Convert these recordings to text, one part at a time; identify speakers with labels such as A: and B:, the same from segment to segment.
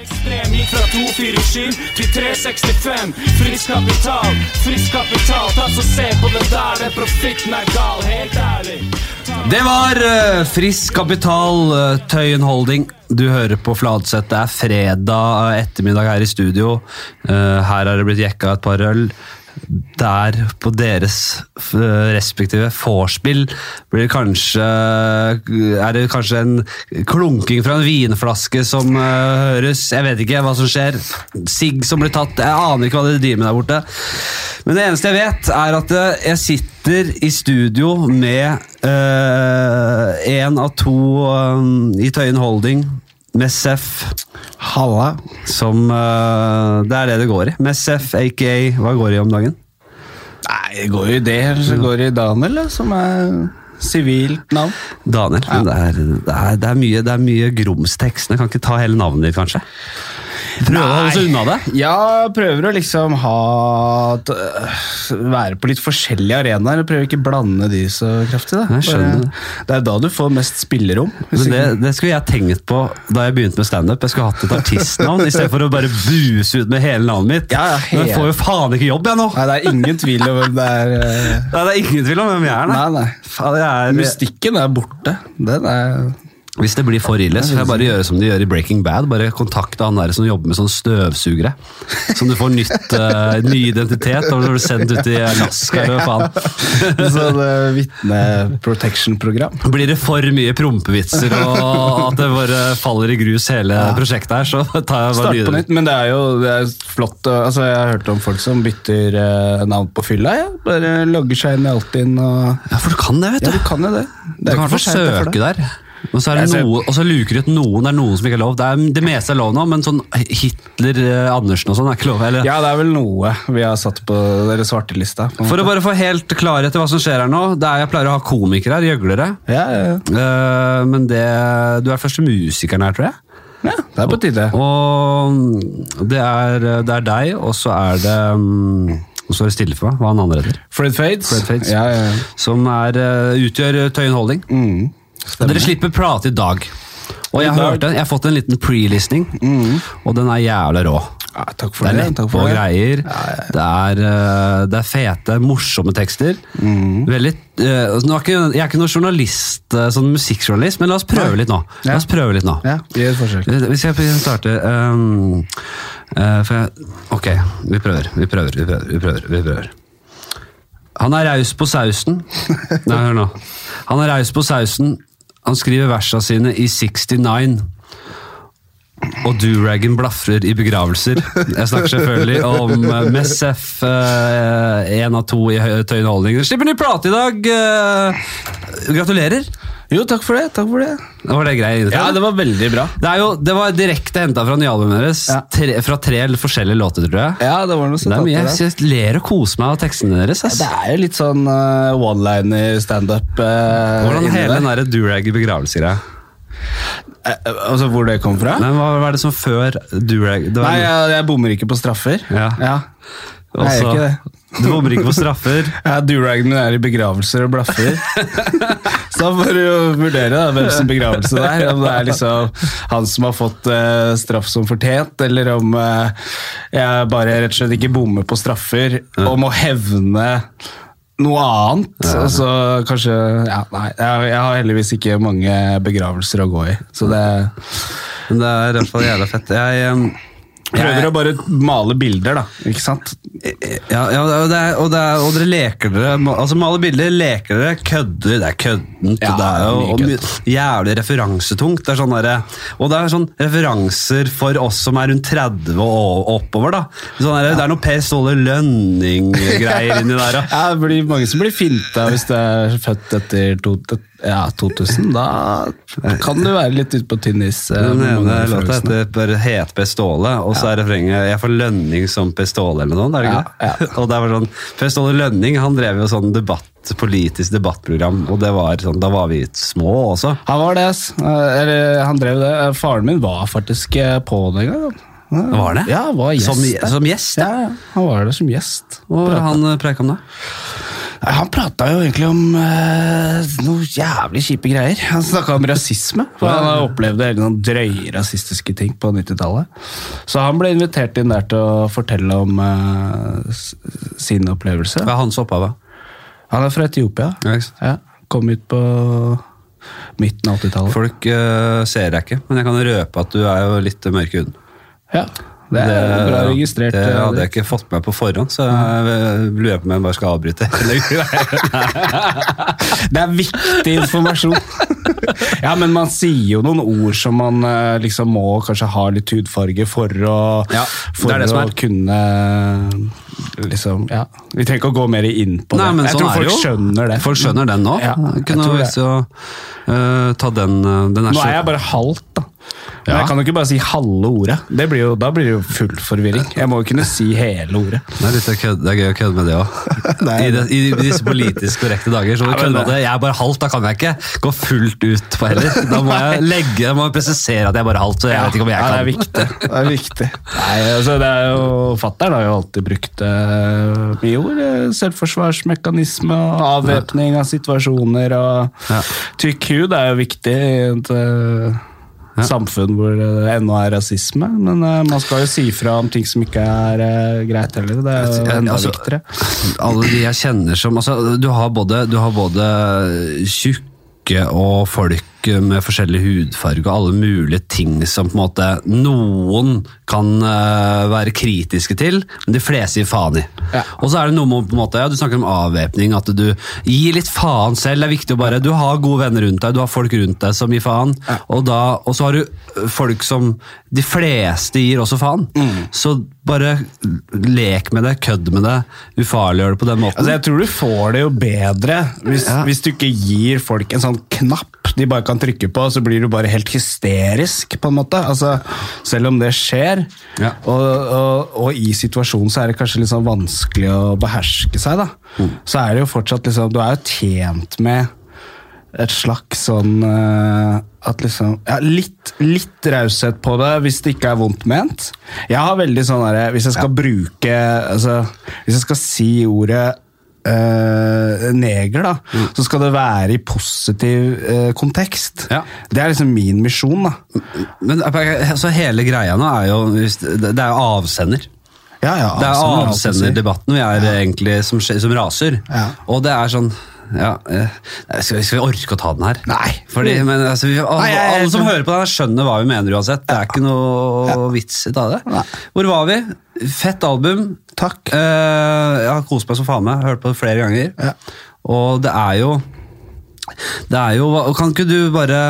A: Ekstrem gikk fra 247 til 365. Frisk kapital, frisk kapital. Ta så se på det der, den profitten er gal. Helt ærlig.
B: Det var eh, Frisk Kapital, eh, Tøyen Holding. Du hører på Fladseth. Det er fredag eh, ettermiddag her i studio. Eh, her har det blitt jekka et par øl. Der, på deres eh, respektive vorspiel, blir det kanskje eh, Er det kanskje en klunking fra en vinflaske som eh, høres? Jeg vet ikke hva som skjer. Sigg som blir tatt. Jeg aner ikke hva de driver med der borte. Men det eneste jeg vet, er at eh, jeg sitter sitter i studio med én av to eh, i Tøyen Holding, med Seff,
C: Halla.
B: som eh, Det er det det går i. Med Seff, aka Hva går det i om dagen?
C: Nei, det går jo i det. eller Så går det i Daniel, da, som er sivilt navn.
B: Daniel. Men det er, det, er, det, er mye, det er mye grumstekst. Jeg kan ikke ta hele navnet ditt, kanskje. Prøve å holde seg unna det.
C: Ja, prøver å liksom ha t- øh, Være på litt forskjellige arenaer. og Prøver ikke å blande de så kraftig. da.
B: Jeg skjønner det.
C: det er da du får mest spillerom. hvis
B: Men det,
C: ikke-
B: det skulle jeg tenkt på da jeg begynte med standup. Jeg skulle hatt et artistnavn istedenfor å bare buse ut med hele navnet mitt.
C: Ja, ja,
B: Men jeg
C: helt.
B: får jo faen ikke jobb, jeg nå!
C: Nei, det er ingen tvil om hvem det er.
B: Nei, det er ingen tvil om hvem jeg
C: øh,
B: er,
C: Nei, nei.
B: Faen, jeg er-
C: Mystikken er borte. Den er
B: Hvis det blir for ille, så får jeg bare gjøre som de gjør i Breaking Bad. Bare kontakte han der som jobber med sånn støvsugere. Som du får nytt, eh, ny identitet, og så blir du sendt ut i Alaska eller hva faen.
C: Sånn uh, vitne-protection-program.
B: Blir det for mye prompevitser og at det bare faller i grus hele prosjektet her, så tar jeg bare
C: Start på
B: videre.
C: nytt, men det er jo det er flott. å- Altså, jeg har hørt om folk som bytter eh, navn på fylla. Ja. Bare logger seg inn i Altinn og
B: Ja, for du kan det, vet
C: Ja,
B: du.
C: du kan jo det.
B: Du
C: Det er
B: kan
C: ikke
B: i hvert
C: for
B: fall
C: seint for
B: søke
C: det.
B: der. Og så, er det
C: Jeg ser-
B: noe, og så luker de ut noen. Det er noen som ikke er lov. Det, er, det meste er lov nå, men sånn Hitler, eh, Andersen og sånn er ikke lov. Eller,
C: Ja, det er vel noe vi har satt på dere svartelista. på en
B: For å
C: måte.
B: bare få helt klarhet i hva som skjer her nå. Det er, jeg pleier å ha komikere her, gjøglere.
C: ja, ja,
B: Eh, men det, du er første musikeren her, tror jeg.
C: ja. ja, det er på tide.
B: Og mm, det er, det er deg, og så er det mm, Nå står det stille for meg hva han andre heter.
C: Fred Fades.
B: Fred Fades.
C: Ja, ja.
B: Som er, eh, utgjør Tøyen Holding.
C: Mm.
B: Dere slipper plate i dag. Og jeg,
C: I dag.
B: hørte, jeg har fått en liten pre-listening, og den er jævla rå.
C: ja, takk for
B: Det er
C: det.
B: neppe
C: takk for
B: og
C: det.
B: greier. Det, er, eh, det er fete, morsomme tekster.
C: Mm.
B: Veldig, eh, altså, nå er ikke, jeg er ikke noen journalist, eh, sånn musikkjournalist, men la oss prøve litt nå. La oss prøve litt nå.
C: Ja, Gi et forsøk.
B: Hvis jeg starter ehm, eh, for jeg, Ok, vi prøver, vi prøver, vi prøver. vi prøver, vi prøver. Han er raus på sausen. Nei, hør nå. Han er raus på sausen. Han skriver versa sine i 69. Og do-raggen blafrer i begravelser. Jeg snakker selvfølgelig om eh, Messef, eh, en av to i Hø- Tøyen Holding. Dere Slipper ny plate i dag! eh. gratulerer!
C: Jo, takk for det. takk for det.
B: Da var det grei intro.
C: Ja, det var veldig bra.
B: Det, er jo, det var direkte henta fra nye albumet deres.
C: Ja.
B: Tre, fra tre forskjellige låter, tror jeg.
C: Ja, Det var noe
B: det er mye.
C: der.
B: Jeg synes- ler og koser meg av tekstene deres. Ass.
C: Det er jo litt sånn eh, one-liner standup. eh,
B: Hvordan
C: inni
B: hele
C: der.
B: den der durag i begravelsesgreia?
C: Eh, eh, Altså hvor det kom fra? Nei,
B: Hva hva er det som før durag? Det var noe-
C: jeg, jeg bommer ikke på straffer.
B: Ja.
C: Nei, jeg gjør
B: også-
C: ikke det.
B: Du bommer ikke på straffer.
C: Ja, Duragen min er i begravelser og blaffer. Så da får du jo vurdere da, hvem sin begravelse det er. Om det er liksom han som har fått eh, straff som fortjent, eller om eh, jeg bare rett og slett ikke bommer på straffer og må hevne noe annet. Og så kanskje ja, Nei, jeg, jeg har heldigvis ikke mange begravelser å gå i. Så det
B: Men det er i hvert fall jævla fett. Jeg, em,
C: Prøver å bare male bilder, da. Ikke sant?
B: Ja, ja og, det er, og, det er, og dere leker dere Altså Med alle bilder leker dere, kødder, det er køddent.
C: Ja,
B: og det er jo
C: mye
B: og my- jævlig referansetungt. Det er sånn derre- og det er sånn referanser for oss som er rundt 30 og o- oppover. da sånn derre- Det er noe Per Ståle Lønning-greier inni der. da.
C: Ja, det blir mange som blir finta hvis du er født etter to, ja, 2000. Da kan du være litt ute på tynn is. eh,
B: Den
C: med mange
B: ene låta
C: referanser.
B: heter bare het Per Ståle, og så er refrenget 'Jeg får lønning som Per Ståle' eller noe. sånt, Er det ikke
C: Ja,
B: det? Og det var sånn, Per Ståle Lønning han drev jo sånn debatt, politisk debattprogram, og det var sånn, da var vi små også.
C: Han var det, ass. Eh, Eller, han drev det. Eh, Faren min var faktisk eh, på det en gang. da.
B: Var det?
C: Ja, var gjest.
B: Som,
C: der.
B: som gjest, ja.
C: Ja, ja, han var det som gjest.
B: Og han eh, preika om det.
C: Nei, Han prata jo egentlig om eh, noe jævlig kjipe greier. Han snakka om rasisme. For han opplevde hele noen sånn drøye rasistiske ting på 90-tallet. Så han ble invitert inn der til å fortelle om eh, s- sin opplevelse.
B: Hva er hans opphav, da?
C: Han er fra Etiopia.
B: Ja, ikke sant.
C: Ja, kom ut på midten av 80-tallet.
B: Folk eh, ser deg ikke, men jeg kan røpe at du er jo litt mørk i huden.
C: Ja, det er bra registrert.
B: Det
C: eh, Mm.
B: hadde jeg ikke fått med på forhånd, så jeg lurer på om jeg bare skal avbryte.
C: Det er viktig informasjon. ja, men man sier jo noen ord som man eh, liksom må kanskje ha litt hudfarge for å,
B: Ja,
C: for
B: det er det som
C: å
B: er.
C: kunne liksom, ja. Vi trenger ikke å gå mer inn på det.
B: Nei, men
C: jeg
B: sånn
C: tror
B: er
C: folk
B: jo.
C: skjønner det.
B: Folk skjønner den nå.
C: Ja, jeg
B: Kunne
C: tror det.
B: hvis jo, eh, ta den, eh, den er
C: Nå
B: så-
C: er jeg bare halvt, da. Men
B: Ja.
C: jeg kan jo ikke bare si halve ordet. Det blir jo, da blir det jo full forvirring. Jeg må jo kunne si hele ordet.
B: det er, litt å kødde, det er gøy å kødde med det òg.
C: Nei.
B: I, de- I disse politisk korrekte dager. så må du
C: Ja, men
B: kødde med det. Jeg er bare halvt, da kan jeg ikke gå fullt ut på heller. Da må jeg legge, jeg må presisere at jeg er bare halvt. så jeg vet ikke om jeg
C: ja,
B: kan.
C: det er viktig. Det er viktig. Nei, altså, det er jo, Fattern har jo alltid brukt eh, mye ord. eh, Selvforsvarsmekanisme og avvæpning av situasjoner. og
B: Ja.
C: Tykk hud er jo viktig i et eh, samfunn hvor det ennå er rasisme. Men eh, man skal jo si fra om ting som ikke er eh, greit heller. Det er jo
B: Jeg-
C: enda
B: altså,
C: viktigere.
B: Alle de jeg kjenner som altså, du, har både, du har både tjukke og folk med forskjellig hudfarge og alle mulige ting som på en måte noen kan eh, være kritiske til, men de fleste gir faen i.
C: Ja.
B: Og så er det noe med på en måte, ja, Du snakker om avvæpning, at du gir litt faen selv. Det er viktig å bare Du har gode venner rundt deg, du har folk rundt deg som gir faen. Og, da, og så har du folk som De fleste gir også faen. Så bare lek med det, kødd med det, ufarliggjør det på den måten.
C: Altså, jeg tror du får det jo bedre hvis, hvis du ikke gir folk en sånn knapp de bare kan trykke på, så blir du bare helt hysterisk, på en måte. Altså, selv om det skjer,
B: Ja.
C: og, og, og i situasjonen så er det kanskje litt sånn vanskelig å beherske seg, da.
B: Mm.
C: Så er det jo fortsatt liksom Du er jo tjent med et slags sånn eh, At liksom ja, Litt, litt raushet på det hvis det ikke er vondt ment. Jeg har veldig sånn derre Hvis jeg skal bruke altså, Hvis jeg skal si ordet eh, neger, da,
B: Mm.
C: så skal det være i positiv eh, kontekst.
B: Ja.
C: Det er liksom min misjon, da.
B: Men så hele greia nå er jo hvis- Det det er jo avsender.
C: Ja, ja, altså,
B: Det er
C: avsender,
B: avsenderdebatten vi er egentlig som, skje- som raser.
C: Ja.
B: Og det er sånn ja, eh, skal, vi- skal vi orke å ta den her?
C: Nei. Mm.
B: Fordi, men, altså, vi, alle,
C: Nei, jeg-
B: alle som hører på den, her skjønner hva vi mener uansett. Det er ikke noe vits i det.
C: Nei.
B: Hvor var vi? Fett album.
C: Takk.
B: Eh, jeg har kost meg som faen meg. Hørt på det flere ganger.
C: Ja.
B: Og det er jo Det er jo hva- Kan ikke du bare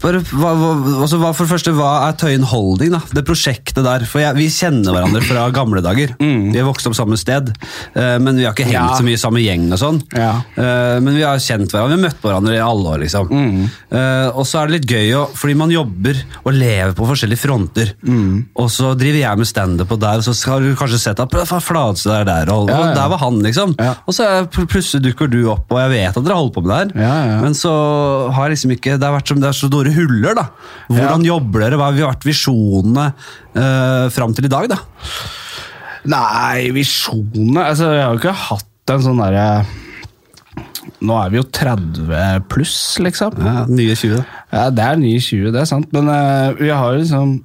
B: bare, hva, hva, altså, hva, for det første, hva er Tøyen Holding, da? Det prosjektet der. For jeg, vi kjenner hverandre fra gamle dager. Vi har vokst opp samme sted, eh, men vi har ikke hengt
C: Mm. Ja.
B: så mye i samme gjeng og sånn.
C: Ja.
B: Eh, men vi har kjent hverandre, vi har møtt hverandre i alle år, liksom.
C: Mm.
B: Eh, og så er det litt gøy, å- fordi man jobber og lever på forskjellige fronter.
C: Mm.
B: Og så driver jeg med standup på der, og så har du kanskje sett at «Prøv, faen, Fladse der, der, og,
C: Ja, ja.
B: og der var han, liksom.
C: Ja.
B: Og så er- pl- plutselig dukker du opp, og jeg vet at dere holder på med det her.
C: Ja, ja.
B: Men så har jeg liksom ikke Det har vært som det er så store huller, da. Hvordan jobber dere? Hva har vært visjonene uh, fram til i dag, da?
C: Nei, visjonene Altså, jeg har jo ikke hatt en sånn derre Nå er vi jo 30 pluss, liksom.
B: nye 20, da.
C: Ja, det er nye 20, det er sant. Men eh, vi har jo liksom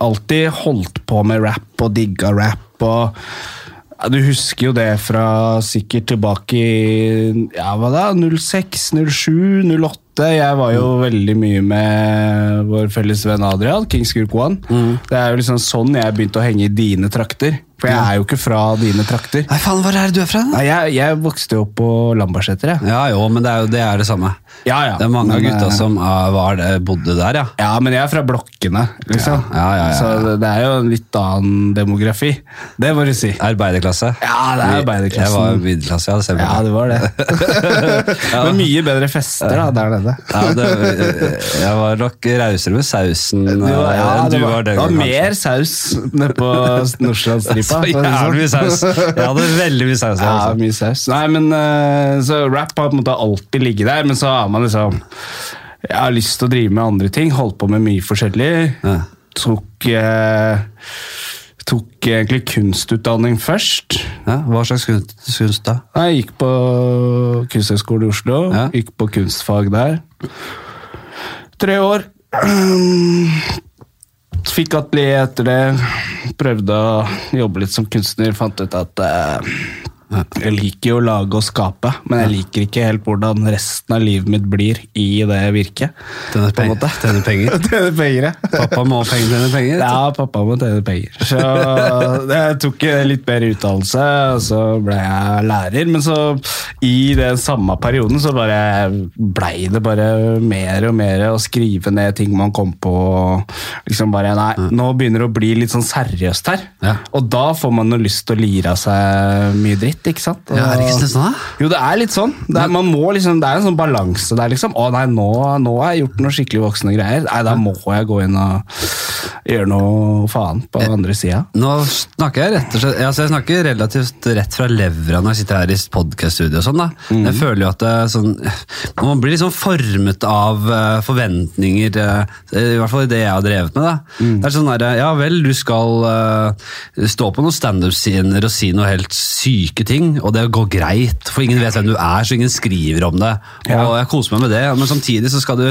C: alltid holdt på med rap og digga rap og ja, du husker jo det fra sikkert tilbake i ja, hva da, 06, 07, 08. Jeg var jo veldig mye med vår felles venn Adrian, Kings Gurkwan. Det er jo liksom sånn jeg begynte å henge i dine trakter. For jeg er jo ikke fra dine trakter.
B: Nei, faen, hvor er det du er fra? da?
C: Nei, jeg, jeg vokste jo opp på Lambertseter, jeg.
B: Ja jo, men det er jo det, er det samme.
C: Ja, ja.
B: Det er mange av
C: Men,
B: gutta
C: eh,
B: som ah, var det, bodde der, ja.
C: Ja, men jeg er fra blokkene, liksom.
B: Ja, ja, ja, ja.
C: Så det, det er jo en litt annen demografi. Det må du si.
B: Arbeiderklasse.
C: Ja, det er arbeiderklassen.
B: Jeg var middelklasse, ja. Det stemmer.
C: Ja, det var det. Men mye bedre fester da, der nede.
B: Ja, det, eh, jeg var nok rausere med sausen eh,
C: ja,
B: enn du
C: det var,
B: var den
C: det var
B: gangen.
C: mer saus nede på Nordstrandsstripa.
B: Så
C: for å si det sånn.
B: jævlig mye saus. Jeg hadde veldig mye saus. jeg,
C: Ja,
B: altså.
C: mye saus. Nei, men eh, så rap har på en måte alltid ligget der, men så har man liksom Jeg har lyst til å drive med andre ting, holdt på med mye forskjellig.
B: Ja.
C: Tok eh, tok egentlig kunstutdanning først.
B: Ja, hva slags kunst, kunst da?
C: Jeg gikk på Kunsthøgskolen i Oslo.
B: Ja.
C: Gikk på kunstfag der. Tre år. Fikk atelier etter det. Prøvde å jobbe litt som kunstner. Fant ut at eh, jeg liker jo å lage og skape, men jeg liker ikke helt hvordan resten av livet mitt blir i det virket.
B: Tjener
C: På en
B: penger.
C: måte.
B: Tjener penger.
C: Tjene penger, ja.
B: Pappa må penge, tjene penger.
C: Ja, pappa må tjene penger. Så jeg tok eh, litt mer utdannelse, og så ble jeg lærer. Men så i den samme perioden så bare blei det bare mer og mer å skrive ned ting man kom på. og Liksom bare Nei, nå begynner det å bli litt sånn seriøst her.
B: Ja.
C: Og da får man jo lyst til å lire av seg mye dritt, ikke sant? Og,
B: Ja, er det ikke sånn da?
C: Jo, det er litt sånn. Det er, man må liksom, det er en sånn balanse der, liksom. Å nei, nå, nå har jeg gjort noe skikkelig voksne greier. Nei, da må jeg gå inn og gjøre noe faen på andre sida.
B: Nå snakker jeg rett og slett altså Jeg snakker relativt rett fra levra når jeg sitter her i podkaststudio og sånn, da. Men Jeg føler jo at det er sånn Man blir liksom formet av eh, forventninger, eh, i hvert fall i det jeg har drevet med, da. Det er sånn derre Ja vel, du skal eh, stå på noen standup-scener og si noe helt syke ting, og det går greit, for ingen vet hvem du er, så ingen skriver om det. Og jeg koser meg med det, men samtidig så skal du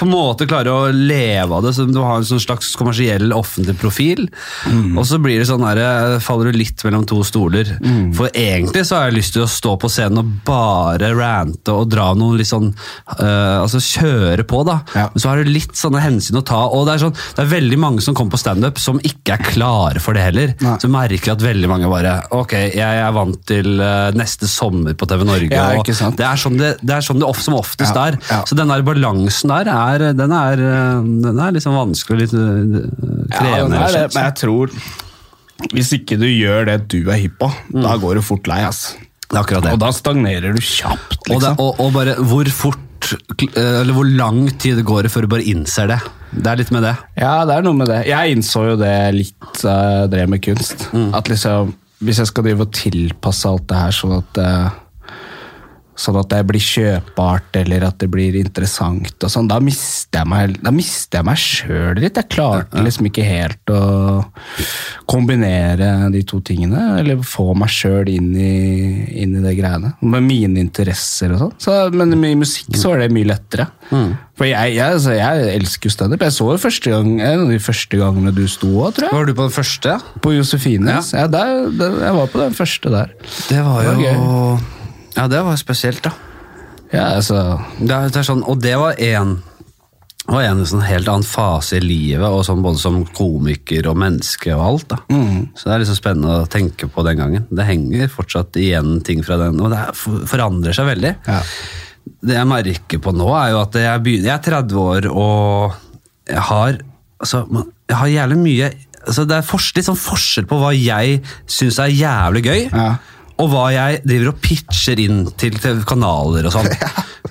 B: på en måte klare å leve av det, så du har en sånn slags kommersiell, offentlig profil.
C: Mm.
B: Og så blir det sånn der, faller du litt mellom to stoler.
C: Mm.
B: For egentlig så har jeg lyst til å stå på scenen og bare rante og dra noen litt sånn øh, Altså kjøre på, da.
C: Ja.
B: Men så har du litt sånne hensyn å ta. Og det er, sånn, det er veldig mange som kommer på standup som ikke er klare for det heller.
C: Nei.
B: Så merker jeg at veldig mange bare Ok, jeg er vant til øh, neste sommer på TV Norge.
C: Ja,
B: og
C: ikke sant?
B: Det er sånn det, det, er sånn det of, som oftest
C: Ja,
B: er.
C: ja.
B: Så den der balansen der, er, den, er, eh, den er liksom vanskelig og litt eh, krevende.
C: det
B: rett og
C: er det,
B: slett.
C: men jeg tror Hvis ikke du gjør det du er hypp på, da går du fort lei, ass.
B: Det er akkurat det.
C: Og da stagnerer du kjapt,
B: Og, det
C: liksom.
B: og, og bare hvor fort kl- eh, Eller hvor lang tid det går før du bare innser det. Det er litt med det.
C: Ja, det er noe med det. Jeg innså jo det litt da jeg drev med kunst. At liksom, hvis jeg skal drive og tilpasse alt det her sånn at eh, Sånn at det blir kjøpbart, eller at det blir interessant og sånn, da mister jeg meg Da mister jeg meg sjøl litt. Jeg klarte liksom ikke helt å kombinere de to tingene. Eller få meg sjøl inn, i- inn i det greiene. Med mine interesser og sånn. Så, men i musikk så var det mye lettere. For jeg, jeg, altså, jeg elsker jo standup. Jeg så jo første gang, en av de første gangene du sto òg, tror jeg.
B: Var du på den første?
C: På Josefines. Ja. der, der, jeg var på den første der.
B: Det var jo
C: Det var
B: Ja, det var spesielt, da.
C: Ja, altså
B: Det er, det er sånn, og det var en det var en sånn helt annen fase i livet, og sånn både som komiker og menneske og alt. da.
C: Mm.
B: Så det er liksom spennende å tenke på den gangen. Det henger fortsatt igjen ting fra den, og det er- for- forandrer seg veldig.
C: Ja.
B: Det jeg merker på nå, er jo at jeg, begynner, jeg er 30 år og jeg har, altså, man- jeg har jævlig mye altså, Det er fors- litt sånn forskjell på hva jeg syns er jævlig gøy,
C: Ja.
B: og hva jeg driver og pitcher inn til TV kanaler og sånn.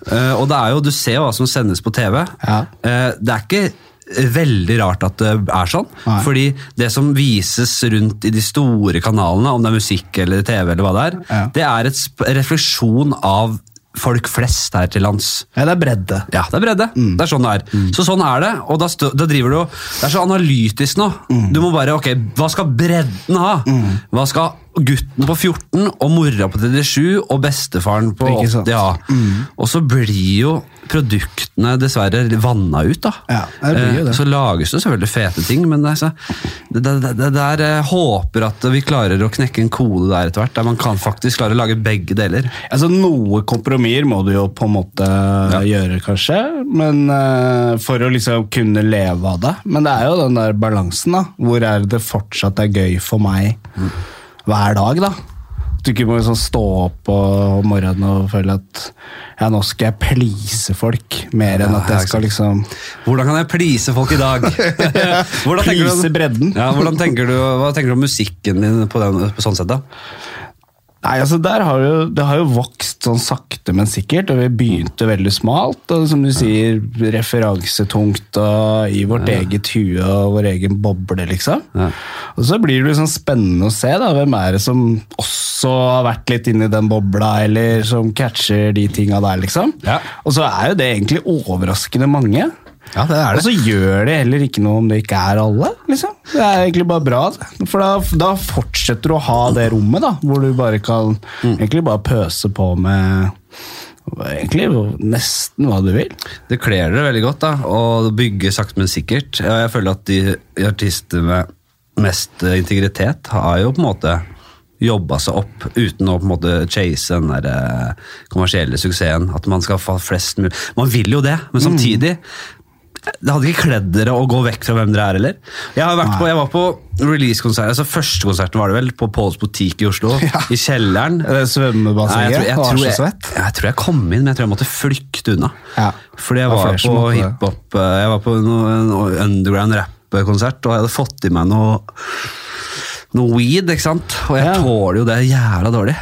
B: Eh, og det er jo, du ser jo hva som sendes på TV.
C: Ja.
B: Eh, det er ikke veldig rart at det er sånn,
C: Nei.
B: fordi det som vises rundt i de store kanalene, om det er musikk eller TV eller hva det er,
C: Ja.
B: det er et sp refleksjon av folk flest her til lands.
C: Ja, det er bredde.
B: Ja, det er bredde.
C: Mm.
B: Det er sånn det er. Så sånn er det, og da, stø, da driver du og Det er så analytisk nå.
C: Mm.
B: Du må bare Ok, hva skal bredden ha? Hva skal gutten på 14 og mora på 37 og bestefaren på
C: Ikke sant.
B: 80
C: Mm.
B: ha? Og så blir jo produktene dessverre vanna ut, da.
C: Ja, det blir jo
B: Eh,
C: det.
B: Så lages det selvfølgelig fete ting, men det, er så, det, det, det der eh, håper at vi klarer å knekke en kode der etter hvert, der man kan faktisk klare å lage begge deler.
C: Altså, Noe kompromisser må du jo på en måte gjøre, kanskje. Men eh, For å liksom kunne leve av det. Men det er jo den der balansen. da. Hvor er det fortsatt er gøy for meg hver dag, da? At du ikke må liksom stå opp og- om morgenen og føle at ja, nå skal jeg please folk. Mer enn
B: Ja,
C: at
B: ja,
C: jeg skal liksom
B: Hvordan kan jeg please folk i dag? Hvordan tenker du-
C: Please bredden.
B: Ja, hvordan tenker du, hva tenker du om musikken din på, den, på sånn sett, da?
C: Nei, altså der har jo, Det har jo vokst sånn sakte, men sikkert. og Vi begynte veldig smalt. og Som du sier, referansetungt og i vårt eget hue og vår egen boble, liksom. Og så blir det jo sånn spennende å se da, hvem er det som også har vært litt inni den bobla, eller som catcher de tinga der, liksom.
B: Ja.
C: Og så er jo det egentlig overraskende mange.
B: Ja, det er det.
C: Og så gjør det heller ikke noe om det ikke er alle. liksom. Det er egentlig bare bra. det. For da, da fortsetter du å ha det rommet da, hvor du bare kan egentlig bare pøse på med egentlig nesten hva du vil.
B: Det kler dere veldig godt da, å bygge sakte, men sikkert. Og jeg føler at de artister med mest eh, integritet har jo på en måte jobba seg opp uten å på en måte chase den der eh, kommersielle suksessen. At man skal få flest mulig Man vil jo det, men samtidig det hadde ikke kledd dere å gå vekk fra hvem dere er heller. Jeg, har vært på, jeg var på release-konsert, altså første konserten var det vel, på Pauls butikk i Oslo. I kjelleren.
C: Det svømmebassenget
B: Nei, jeg,
C: var
B: tror,
C: så
B: jeg, tror jeg,
C: svett.
B: jeg tror jeg kom inn, men jeg tror jeg måtte flykte unna.
C: Ja.
B: Fordi jeg
C: Det var
B: var
C: flere som
B: på
C: måtte det.
B: hiphop eh, Jeg var på noe, noe underground rap-konsert, og jeg hadde fått i meg noe, noe weed, ikke sant? Og jeg
C: Ja.
B: tåler jo det jævla dårlig.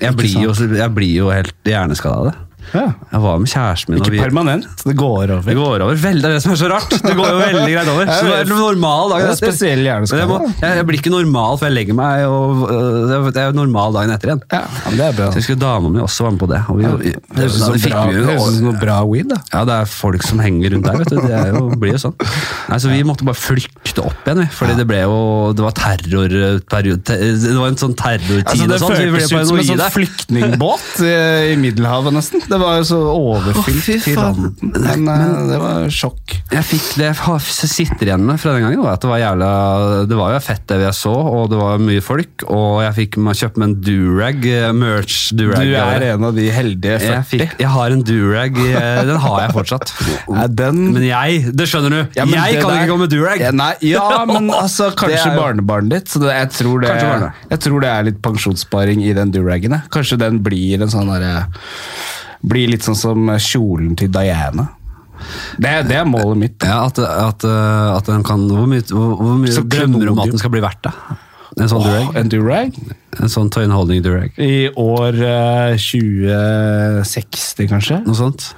B: Jeg blir, jo, jeg blir jo helt hjerneskada av det.
C: Ja.
B: Jeg var med kjæresten min og
C: Ikke
B: vi-
C: permanent, det går
B: det
C: over.
B: går over veldig, det er det som er så rart. Det går jo veldig greit over. Så det er en normal dag
C: Det er
B: etter.
C: spesiell hjerneskade.
B: Men Jeg, må- jeg, jeg blir ikke normal, for jeg legger meg, og øh, det er jo normal dagen etter igjen.
C: Ja, men det er bra.
B: Så jeg husker dama mi også var med på det. Og vi,
C: Det
B: det,
C: høres ut som
B: fikk
C: bra-
B: vi jo-
C: det høres ut som noe bra weed, da.
B: ja, det er folk som henger rundt der, vet du. Det er jo, blir jo sånn. Nei, så vi måtte bare flykte opp igjen, vi. Fordi det ble jo Det var terrorperiode te- Det var en sånn terrortid
C: Altså, det
B: og sånn. så vi ble
C: føltes
B: bare
C: ut som en sånn
B: noide.
C: flyktningbåt eh, i Middelhavet, nesten. Det var jo så
B: Å, fy
C: overfylt til
B: faen.
C: randen. Men eh, det var sjokk.
B: Jeg fikk det jeg har- sitter igjen med fra den gangen, var at det var jævla Det var jo fett, det jeg så, og det var mye folk. Og jeg fikk meg- kjøpt meg en durag. eh, Merch
C: Du
B: durag.
C: er en av de heldige
B: jeg,
C: 40.
B: fikk, jeg har en durag. eh, Den har jeg fortsatt.
C: Nei, den-
B: Men jeg, det skjønner du.
C: Ja, men
B: jeg
C: det
B: kan
C: der-
B: ikke gå med durag.
C: Ja, nei, ja, men altså,
B: Det
C: kanskje
B: er jo-
C: barnebarnet ditt. Så det, jeg, tror det,
B: Kanskje barnebarnet.
C: jeg tror det er litt pensjonssparing i den duragen. jeg. Kanskje den blir en sånn derre Blir litt sånn som kjolen til Diana. Det, er- det er målet mitt.
B: Ja, at, at, uh, at den kan Hvor mye, hvor, hvor mye
C: Så
B: drømmer du om at
C: klenodium.
B: den skal bli verdt, da? En sånn durag?
C: En durag
B: En sånn Toyin Holding durag?
C: i år eh, 2060, kanskje?
B: Noe sånt?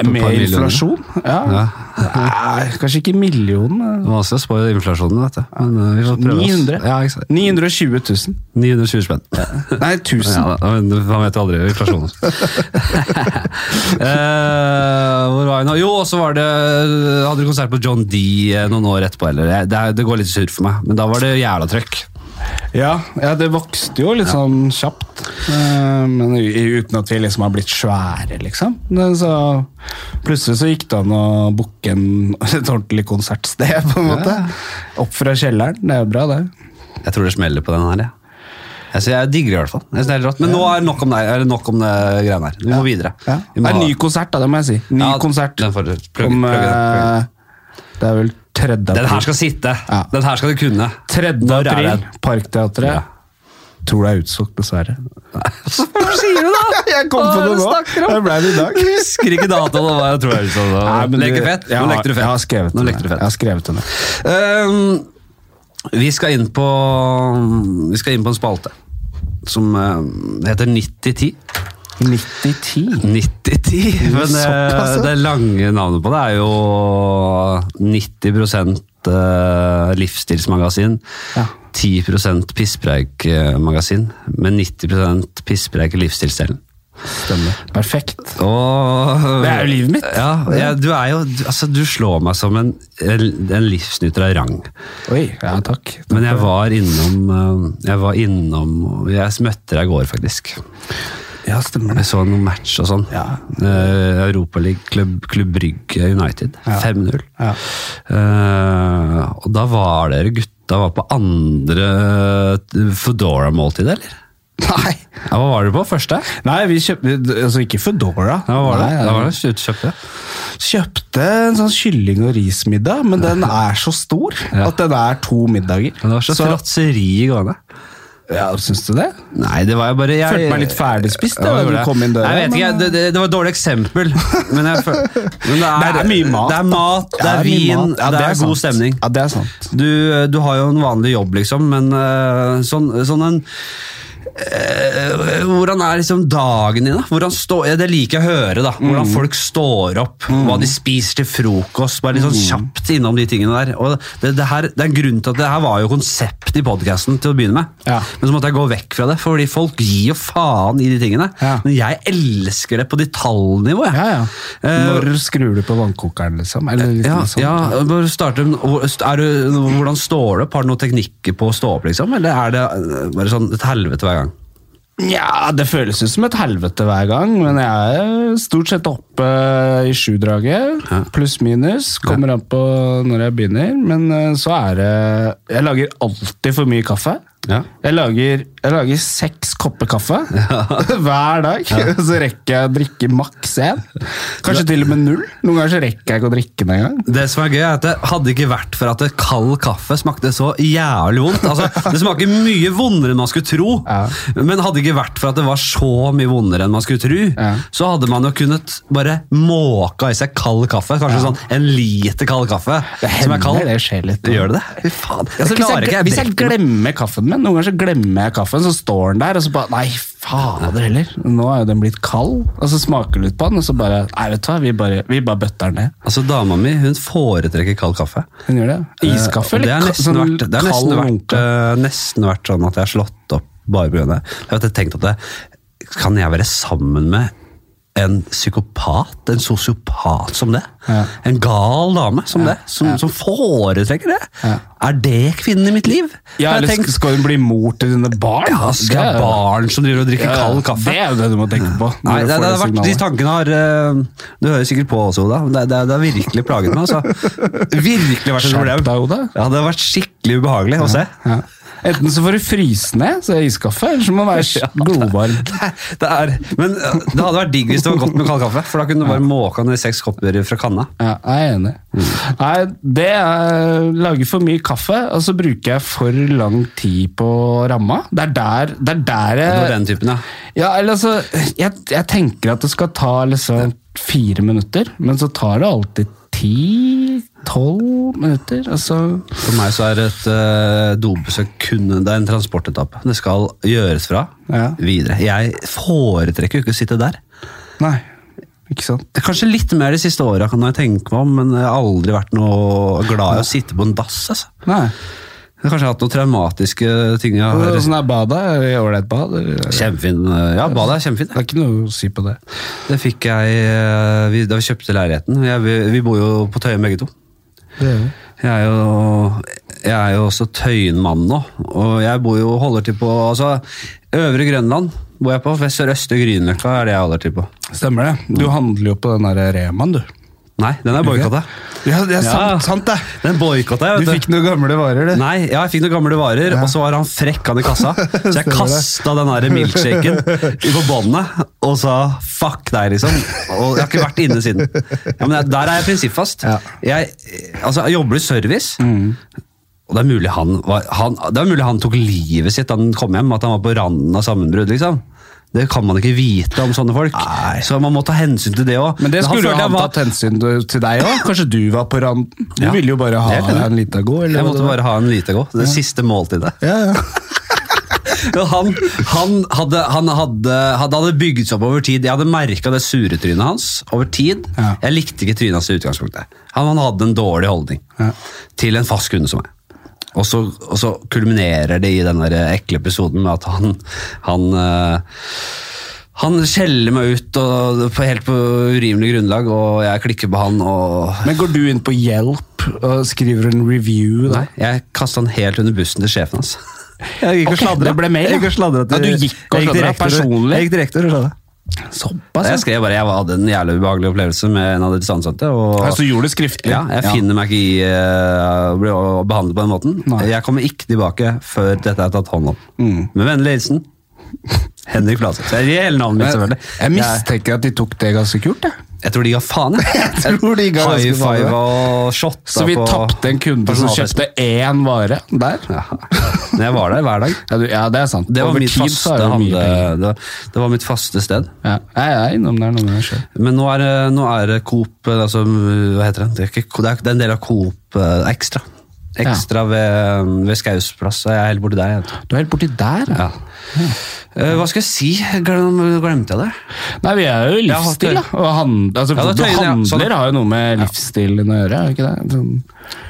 B: På et par
C: Med
B: millioner.
C: inflasjon? Ja.
B: Ja.
C: Nei, kanskje ikke millionen. eh.
B: Det var vanskelig å spå inflasjonen, vet du. Men uh, vi får prøve oss.
C: 900.
B: Ja, ikke sant.
C: 920 000.
B: 920 spenn.
C: Nei, 1000.
B: Ja, da, men han vet jo aldri inflasjonen. Eh, hvor var jeg nå? Jo, og så var det Hadde du konsert på John D eh, noen år etterpå, eller? Jeg- Det, er- det går litt surr for meg, men da var det jævla trøkk.
C: Ja, ja, det vokste jo litt sånn kjapt. eh, Men u- uten at vi liksom har blitt svære, liksom. Men Så plutselig så gikk det an å booke en, et ordentlig konsertsted, på en måte. Opp fra kjelleren. Det er jo bra, det.
B: Jeg tror det smeller på den her, jeg. Jeg, synes jeg digger det i hvert fall. Jeg synes det er helt rått. Men nå er det nok om det, er det nok om det greiene her. Vi må videre.
C: Ja.
B: Vi
C: Det
B: må
C: er en
B: ha-
C: ny konsert, da, det må jeg si. Ny
B: Ja,
C: konsert.
B: Den, får, du plugge,
C: om,
B: plugge den, plugge.
C: eh, det er vel 3. april.
B: den her skal sitte!
C: Ja.
B: Den her skal du kunne.
C: 3.
B: Når er
C: april,
B: den?
C: Parkteatret.
B: Ja.
C: Tror det er utsolgt, dessverre.
B: Hva sier du da?!
C: Jeg kom på
B: Hva er det
C: det
B: du
C: nå!
B: snakker om?
C: Det ble det i dag.
B: Jeg husker ikke datoen. og hva Jeg tror jeg sa da.
C: Nei, men
B: Leker
C: du-
B: fett.
C: Jeg
B: Nå
C: har-
B: lekte du fett.
C: Jeg har skrevet
B: Nå
C: den.
B: lekte du
C: Jeg
B: fett.
C: har skrevet den.
B: Ehm, vi skal inn på Vi skal inn på en spalte som eh, heter 9010.
C: 9010.
B: 90-10. Men
C: Såpass,
B: det,
C: ja.
B: det lange navnet på det er jo 90 eh, livsstilsmagasin.
C: Ja.
B: 10 pisspreik-magasin, men 90 pisspreik i livsstilsdelen.
C: Stemmer. Perfekt.
B: Og,
C: Det er jo livet mitt.
B: Ja, jeg- du, er jo, du- altså, du slår meg som en, en, en livsnyter av rang.
C: Oi, ja takk.
B: Men jeg var innom eh, Jeg var innom Jeg møtte deg i går, faktisk.
C: Ja, stemmer
B: Jeg så noen match og sånn.
C: Ja.
B: Eh, Europa League, Klubb, Klubb Brygge United. 5-0.
C: Ja.
B: Eh, og da var dere gutta var på andre Foodora-måltid, eller?
C: Nei.
B: Ja, hva var dere på? Første?
C: Nei, vi kjøpte Altså, ikke Foodora.
B: Ja, hva var det?
C: Nei,
B: da var det slutt- kjøpte.
C: Kjøpte en sånn kylling- og rismiddag, men den er så stor at den er to middager.
B: Men det var så, fråtseri gående.
C: Ja, Syns du det?
B: Nei, det var jo bare jeg,
C: Følte meg litt ferdigspist da,
B: Ja,
C: da
B: gjorde
C: du
B: jeg.
C: kom inn døra,
B: Nei, Jeg vet ikke,
C: men-
B: det, det, det var et dårlig eksempel. Men, jeg, føl- men det, er,
C: Det er mye mat,
B: Det er,
C: da.
B: mat, det
C: Ja,
B: er
C: mye
B: vin,
C: mat. Ja,
B: det, er, god
C: sant.
B: stemning.
C: Ja, det er sant.
B: Du, du har jo eh, en vanlig jobb, liksom, men eh, sånn, sånn en Eh, hvordan er liksom dagen din, da? Hvordan stå, ja, det liker jeg å høre. da Hvordan
C: Mm.
B: folk står opp, hva de spiser til frokost. Bare litt sånn
C: Mm.
B: kjapt innom de tingene der. Og det, det, her, det er en grunn til at det her var jo konsept i podkasten til å begynne med.
C: Ja.
B: Men så måtte jeg gå vekk fra det, fordi folk gir jo faen i de tingene.
C: Ja.
B: Men jeg elsker det på detaljnivå. jeg.
C: Ja, ja.
B: Eh,
C: Når skrur du på vannkokeren, liksom? Eller litt
B: ja,
C: sånn.
B: ja, bare starte med- hvor- er du, Hvordan står det opp? Har du noen teknikker på å stå opp, liksom? Eller er det eh, bare sånn et helvete hver gang?
C: Nja, det føles ut som et helvete hver gang, men jeg er stort sett oppe i sjudraget. Pluss minus. Kommer an på når jeg begynner. Men eh, så er det Jeg lager alltid for mye kaffe.
B: Ja.
C: Jeg lager, jeg lager seks kopper kaffe hver dag. Så rekker jeg å drikke maks én. Kanskje til og med null. Noen ganger så rekker jeg ikke å drikke den engang.
B: Det som er gøy er at det hadde ikke vært for at det kald kaffe smakte så jævlig vondt. Altså, det smaker mye vondere enn man skulle tro,
C: Ja.
B: men hadde ikke vært for at det var så mye vondere enn man skulle tro,
C: Ja.
B: så hadde man jo kunnet bare måka i seg kald kaffe. Kanskje sånn en liter kald kaffe som er kald.
C: det skjer litt.
B: Gjør det det? Fy faen. Jeg
C: Altså,
B: så klarer
C: hvis,
B: ikke
C: jeg,
B: jeg
C: hvis jeg
B: drikker den.
C: glemmer kaffen min, noen ganger så glemmer jeg kaffen, så står den der, og så bare Nei, fader heller. Nå er jo den blitt kald. Og så smaker du litt på den, og så bare Nei, vet du hva, vi bare, vi bare bøtter den ned.
B: Altså, dama mi hun foretrekker kald kaffe.
C: Hun gjør det.
B: Eh,
C: Iskaffe
B: og Det
C: eller
B: har
C: ka-
B: nesten,
C: sånn
B: vært, det har nesten,
C: kald
B: vært,
C: runke?
B: eh, nesten vært sånn at jeg har slått opp bare pga. det. Jeg har tenkt at det, kan jeg være sammen med en psykopat, en sosiopat som det?
C: Ja.
B: En gal dame som det? Som, som foretrekker det?
C: Ja.
B: Er det kvinnen i mitt liv?
C: Ja,
B: Har jeg
C: eller
B: tenkt,
C: skal hun bli mor til dine barn?
B: ja, skal jeg
C: Det er-
B: ha barn som driver og drikker
C: Ja,
B: kald kaffe?
C: Det er jo det du må tenke på. når
B: Nei, det,
C: du
B: det,
C: får
B: har vært, de
C: signalet.
B: tankene har eh, Du hører sikkert på også, Oda. men Det, det, det har virkelig plaget meg. Altså. Virkelig vært et
C: Skjerp
B: problem.
C: deg, Oda.
B: Ja, det har vært skikkelig ubehagelig å se.
C: ja. Enten så får du fryse ned, så er det iskaffe, eller så må du være glovarm.
B: Det, det er, men eh, det hadde vært digg hvis det var godt med kald kaffe, for da kunne du bare måka ned seks kopper fra kanna.
C: Ja, jeg er enig.
B: Mm.
C: Nei, det er lager for mye kaffe, og så bruker jeg for lang tid på ramma. Det er der, det er der
B: Det var
C: jeg
B: den typen, ja.
C: ja, eller altså, jeg, jeg tenker at det skal ta liksom fire minutter, men så tar det alltid ti-tolv minutter. Altså,
B: For meg så er et uh, dobesøk kun det er en transportetappe. Det skal gjøres fra
C: Ja.
B: videre. Jeg foretrekker jo ikke å sitte der.
C: nei, ikke sant?
B: Kanskje litt mer de siste åra, kan jeg tenke meg om, men jeg har aldri vært noe glad i å sitte på en dass. altså.
C: Nei.
B: Jeg har kanskje hatt noen traumatiske ting. Jeg har.
C: Åssen er badet? Er det ålreit bad? eller?
B: Kjempefin. eh, Ja, badet er kjempefint.
C: Det er ikke noe å si på det.
B: Det fikk jeg eh, vi, da vi kjøpte leiligheten. Jeg, vi, vi bor jo på Tøyen begge to.
C: Det gjør vi.
B: Jeg er jo, jeg er jo også Tøyen-mann nå, og jeg bor jo holder til på altså, Øvre Grønland bor jeg på. Vest- Sørøst og Grünerløkka er det jeg holder til på.
C: Stemmer det. Du handler jo på den der Remaen, du.
B: Nei, den er boikotta.
C: Ja, det er
B: Ja.
C: sant, sant det.
B: Den boikotta jeg,
C: Du
B: vet
C: fikk noen gamle varer, du.
B: Nei, ja, jeg fikk noen gamle varer, og så var han frekk han i kassa. Så jeg
C: Stemmer det.
B: kasta den der milkshaken på båndet og sa fuck deg, liksom. Og jeg har ikke vært inne siden. Ja, men jeg- Der er jeg prinsippfast.
C: Ja.
B: Jeg, altså, jeg jobber i service. Og det er, mulig han var, han, det er mulig han tok livet sitt da han kom hjem, at han var på randen av sammenbrudd. liksom. Det kan man ikke vite om sånne folk. Så man må ta hensyn til det òg.
C: Men det skulle jo han tatt hensyn til deg òg. Kanskje du var på randen. Du
B: Ja.
C: ville jo bare ha
B: Det kan jeg.
C: en lita gå. eller
B: Jeg
C: hva
B: måtte
C: det var.
B: bare ha en lite gå. Det siste måltidet.
C: Ja, ja.
B: Men han, han, hadde, han hadde, hadde, hadde bygget seg opp over tid. Jeg hadde merka det sure trynet hans over tid.
C: Ja.
B: Jeg likte ikke trynet hans i utgangspunktet. Han, han hadde en dårlig holdning
C: Ja.
B: til en fast kunde som meg. Og så, og så kulminerer det i den der ekle episoden med at han, han eh, han skjeller meg ut og, på helt på urimelig grunnlag, og jeg klikker på han. og
C: Men går du inn på Hjelp og skriver en review? da?
B: Nei, jeg kasta han helt under bussen til sjefen hans. Jeg
C: og sladret. Jeg gikk og sladret til-
B: ja, du gikk og
C: Jeg gikk
B: sladret
C: direkte til-
B: personlig?
C: jeg gikk
B: direkte og sladra.
C: Såpass, ja.
B: Jeg skrev bare jeg hadde en jævlig ubehagelig opplevelse med en av de ansatte. Og
C: Ja, så gjorde du skriftlig?
B: ja, jeg finner meg ikke i eh, å bli å- behandlet på den måten.
C: Nei. Mm.
B: Jeg kommer ikke tilbake før dette er tatt hånd om. Med vennlig hilsen Henrik Flatseth. Det er hele navnet mitt,
C: Jeg,
B: selvfølgelig.
C: jeg mistenker at de tok det ganske kult. Jeg.
B: Jeg, jeg tror de ga faen, jeg.
C: Jeg tror de ga ganske
B: High
C: faen,
B: five
C: ja.
B: og shotta
C: Så vi
B: på
C: tapte en kunde som
B: personalfesten.
C: kjøpte én vare der.
B: Ja. Men jeg var der hver dag.
C: Ja, du- ja det er sant.
B: Det var,
C: Over
B: mitt
C: tid så er
B: faste,
C: det mye
B: handle,
C: penger.
B: det, det var mitt faste sted.
C: Ja, jeg er innom der noen ganger selv.
B: Men nå er, det- nå er det Coop eh, altså, Hva heter det? Det er, ikke, Coop- det er det er en del av Coop eh, Extra. Ekstra ved, mm, ved Skausplass. Jeg er helt borti der. Jeg. vet
C: Du er helt borti der.
B: du. Ja. Eh, hva skal jeg si? Glem, glemte jeg det?
C: Nei, vi er jo i
B: Jeg har
C: livsstil, da.
B: hatt-
C: Og hand, altså,
B: Ja, det
C: du
B: tøyer, ja.
C: handler
B: Sånn.
C: har jo noe med livsstilen å gjøre, er det ikke det? Sånn,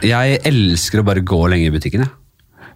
B: Jeg elsker å bare gå lenge i butikken. Jeg.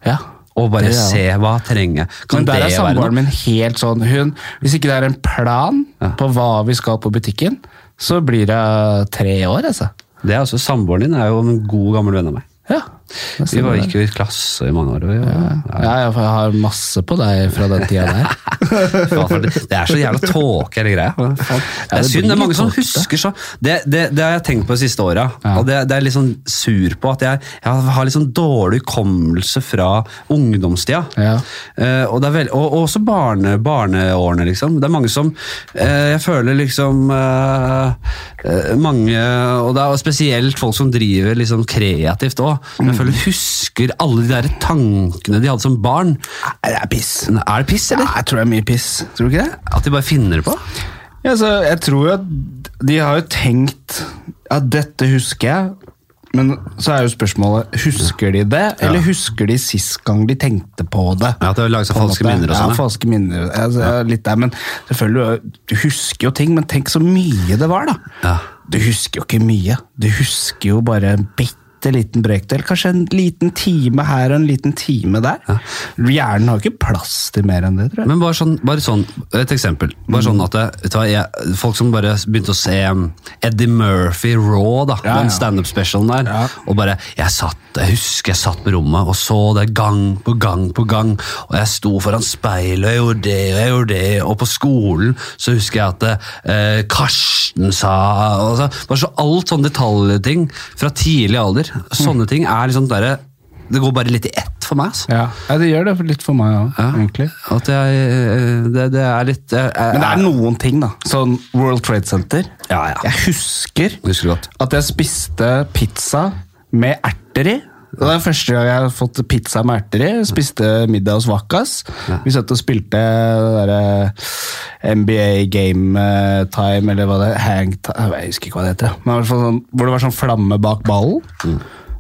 C: ja.
B: Og bare
C: Det er det.
B: se hva trenger. Kan
C: Men der
B: det
C: er
B: være noe?
C: samboeren min helt sånn hun, Hvis ikke det er en plan på hva vi skal på butikken, så blir det tre år, altså.
B: Det er også Samboeren din er jo en god, gammel venn av meg.
C: Ja. det
B: Vi
C: stemmer
B: var,
C: det.
B: gikk jo i klasse i mange år. Og, ja.
C: Ja, jeg har masse på deg fra den tida der.
B: Faen, for det, det er så jævla tåke, hele greia. Faen. Det
C: Ja,
B: er
C: det
B: synd. Det
C: blir
B: er mange som
C: tåke.
B: husker så Det, det, det har jeg tenkt på de siste åra.
C: Ja.
B: Og det, det er jeg litt sånn sur på at jeg, jeg har litt sånn dårlig hukommelse fra ungdomstida.
C: Ja.
B: Eh, og, det er vel- og, og også barne, barneårene, liksom. Det er mange som eh, Jeg føler liksom eh, eh, Mange, og det er jo spesielt folk som driver liksom kreativt òg,
C: Mm.
B: jeg føler husker alle de der tankene de hadde som barn.
C: Nei, det er piss.
B: Er det piss, eller?
C: jeg tror det er mye piss. Tror du ikke det?
B: At de bare finner det på?
C: Ja, så jeg tror jo at de har jo tenkt at dette husker jeg, men så er jo spørsmålet husker de det, eller husker de sist gang de tenkte på det?
B: Ja, at det har laget seg
C: På en
B: falske
C: måte.
B: minner og sånn,
C: Ja,
B: ja.
C: falske minner. Altså, jeg er litt der, men selvfølgelig, du husker jo ting, men tenk så mye det var, da.
B: Ja.
C: Du husker jo ikke mye. Du husker jo bare en bitte liten brøkdel. Kanskje en liten time her og en liten time der. Hjernen har jo ikke plass til mer enn det, tror jeg.
B: Men bare sånn, bare sånn et eksempel. Bare sånn at det, vet du hva, jeg, Folk som bare begynte å se um, Eddie Murphy Raw, da,
C: Ja,
B: den
C: ja.
B: standup-specialen der,
C: Ja.
B: og bare jeg, satt, jeg husker jeg satt på rommet og så det gang på gang på gang, og jeg sto foran speilet og jeg gjorde det og jeg gjorde det, og på skolen så husker jeg at eh, Karsten sa og så, Bare så alt sånne detaljting fra tidlig alder.
C: Mm.
B: Sånne ting er liksom derre Det går bare litt i ett for meg. altså.
C: Ja, ja det gjør det litt for meg òg, egentlig.
B: At jeg, eh, det, det er litt jeg- jeg-
C: Men det er noen ting, da. Eh, Sånn World Trade Center.
B: Ja, ja.
C: Jeg husker
B: Husker du godt?
C: at jeg spiste pizza med erter i. Og Det er første gang jeg har fått pizza med erter i. Spiste middag hos Vakas. Vi satt og spilte det eh, derre NBA Game eh, Time, eller hva det er. Hang time, jeg husker ikke hva det heter. Men i hvert fall sånn, hvor det var sånn flamme bak ballen.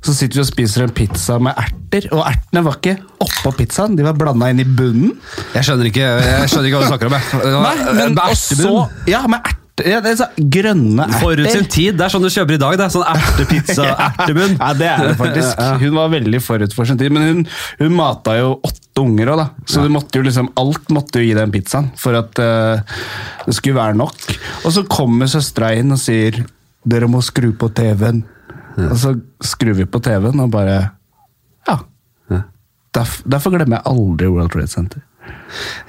C: Så sitter vi og spiser en pizza med erter, og ertene var ikke oppå pizzaen, de var blanda inn i bunnen.
B: Jeg skjønner ikke, jeg skjønner ikke hva du snakker om. jeg. Det var-
C: Nei, men
B: det er
C: også
B: ertebunn.
C: Ja, med erter. Ja, det er så, grønne erter.
B: Forut sin tid. Det er sånn du kjøper i dag. Det er sånn ertepizza, ertebunn.
C: Ja, det er det faktisk. Hun var veldig forut for sin tid, men hun, hun mata jo åtte unger òg, da. Så du måtte jo liksom, alt måtte jo gi den pizzaen for at eh, det skulle være nok. Og så kommer søstera inn og sier 'dere må skru på TV-en'. Og så skrur vi på TV-en og bare Ja. Derf, derfor glemmer jeg aldri World Trade Center.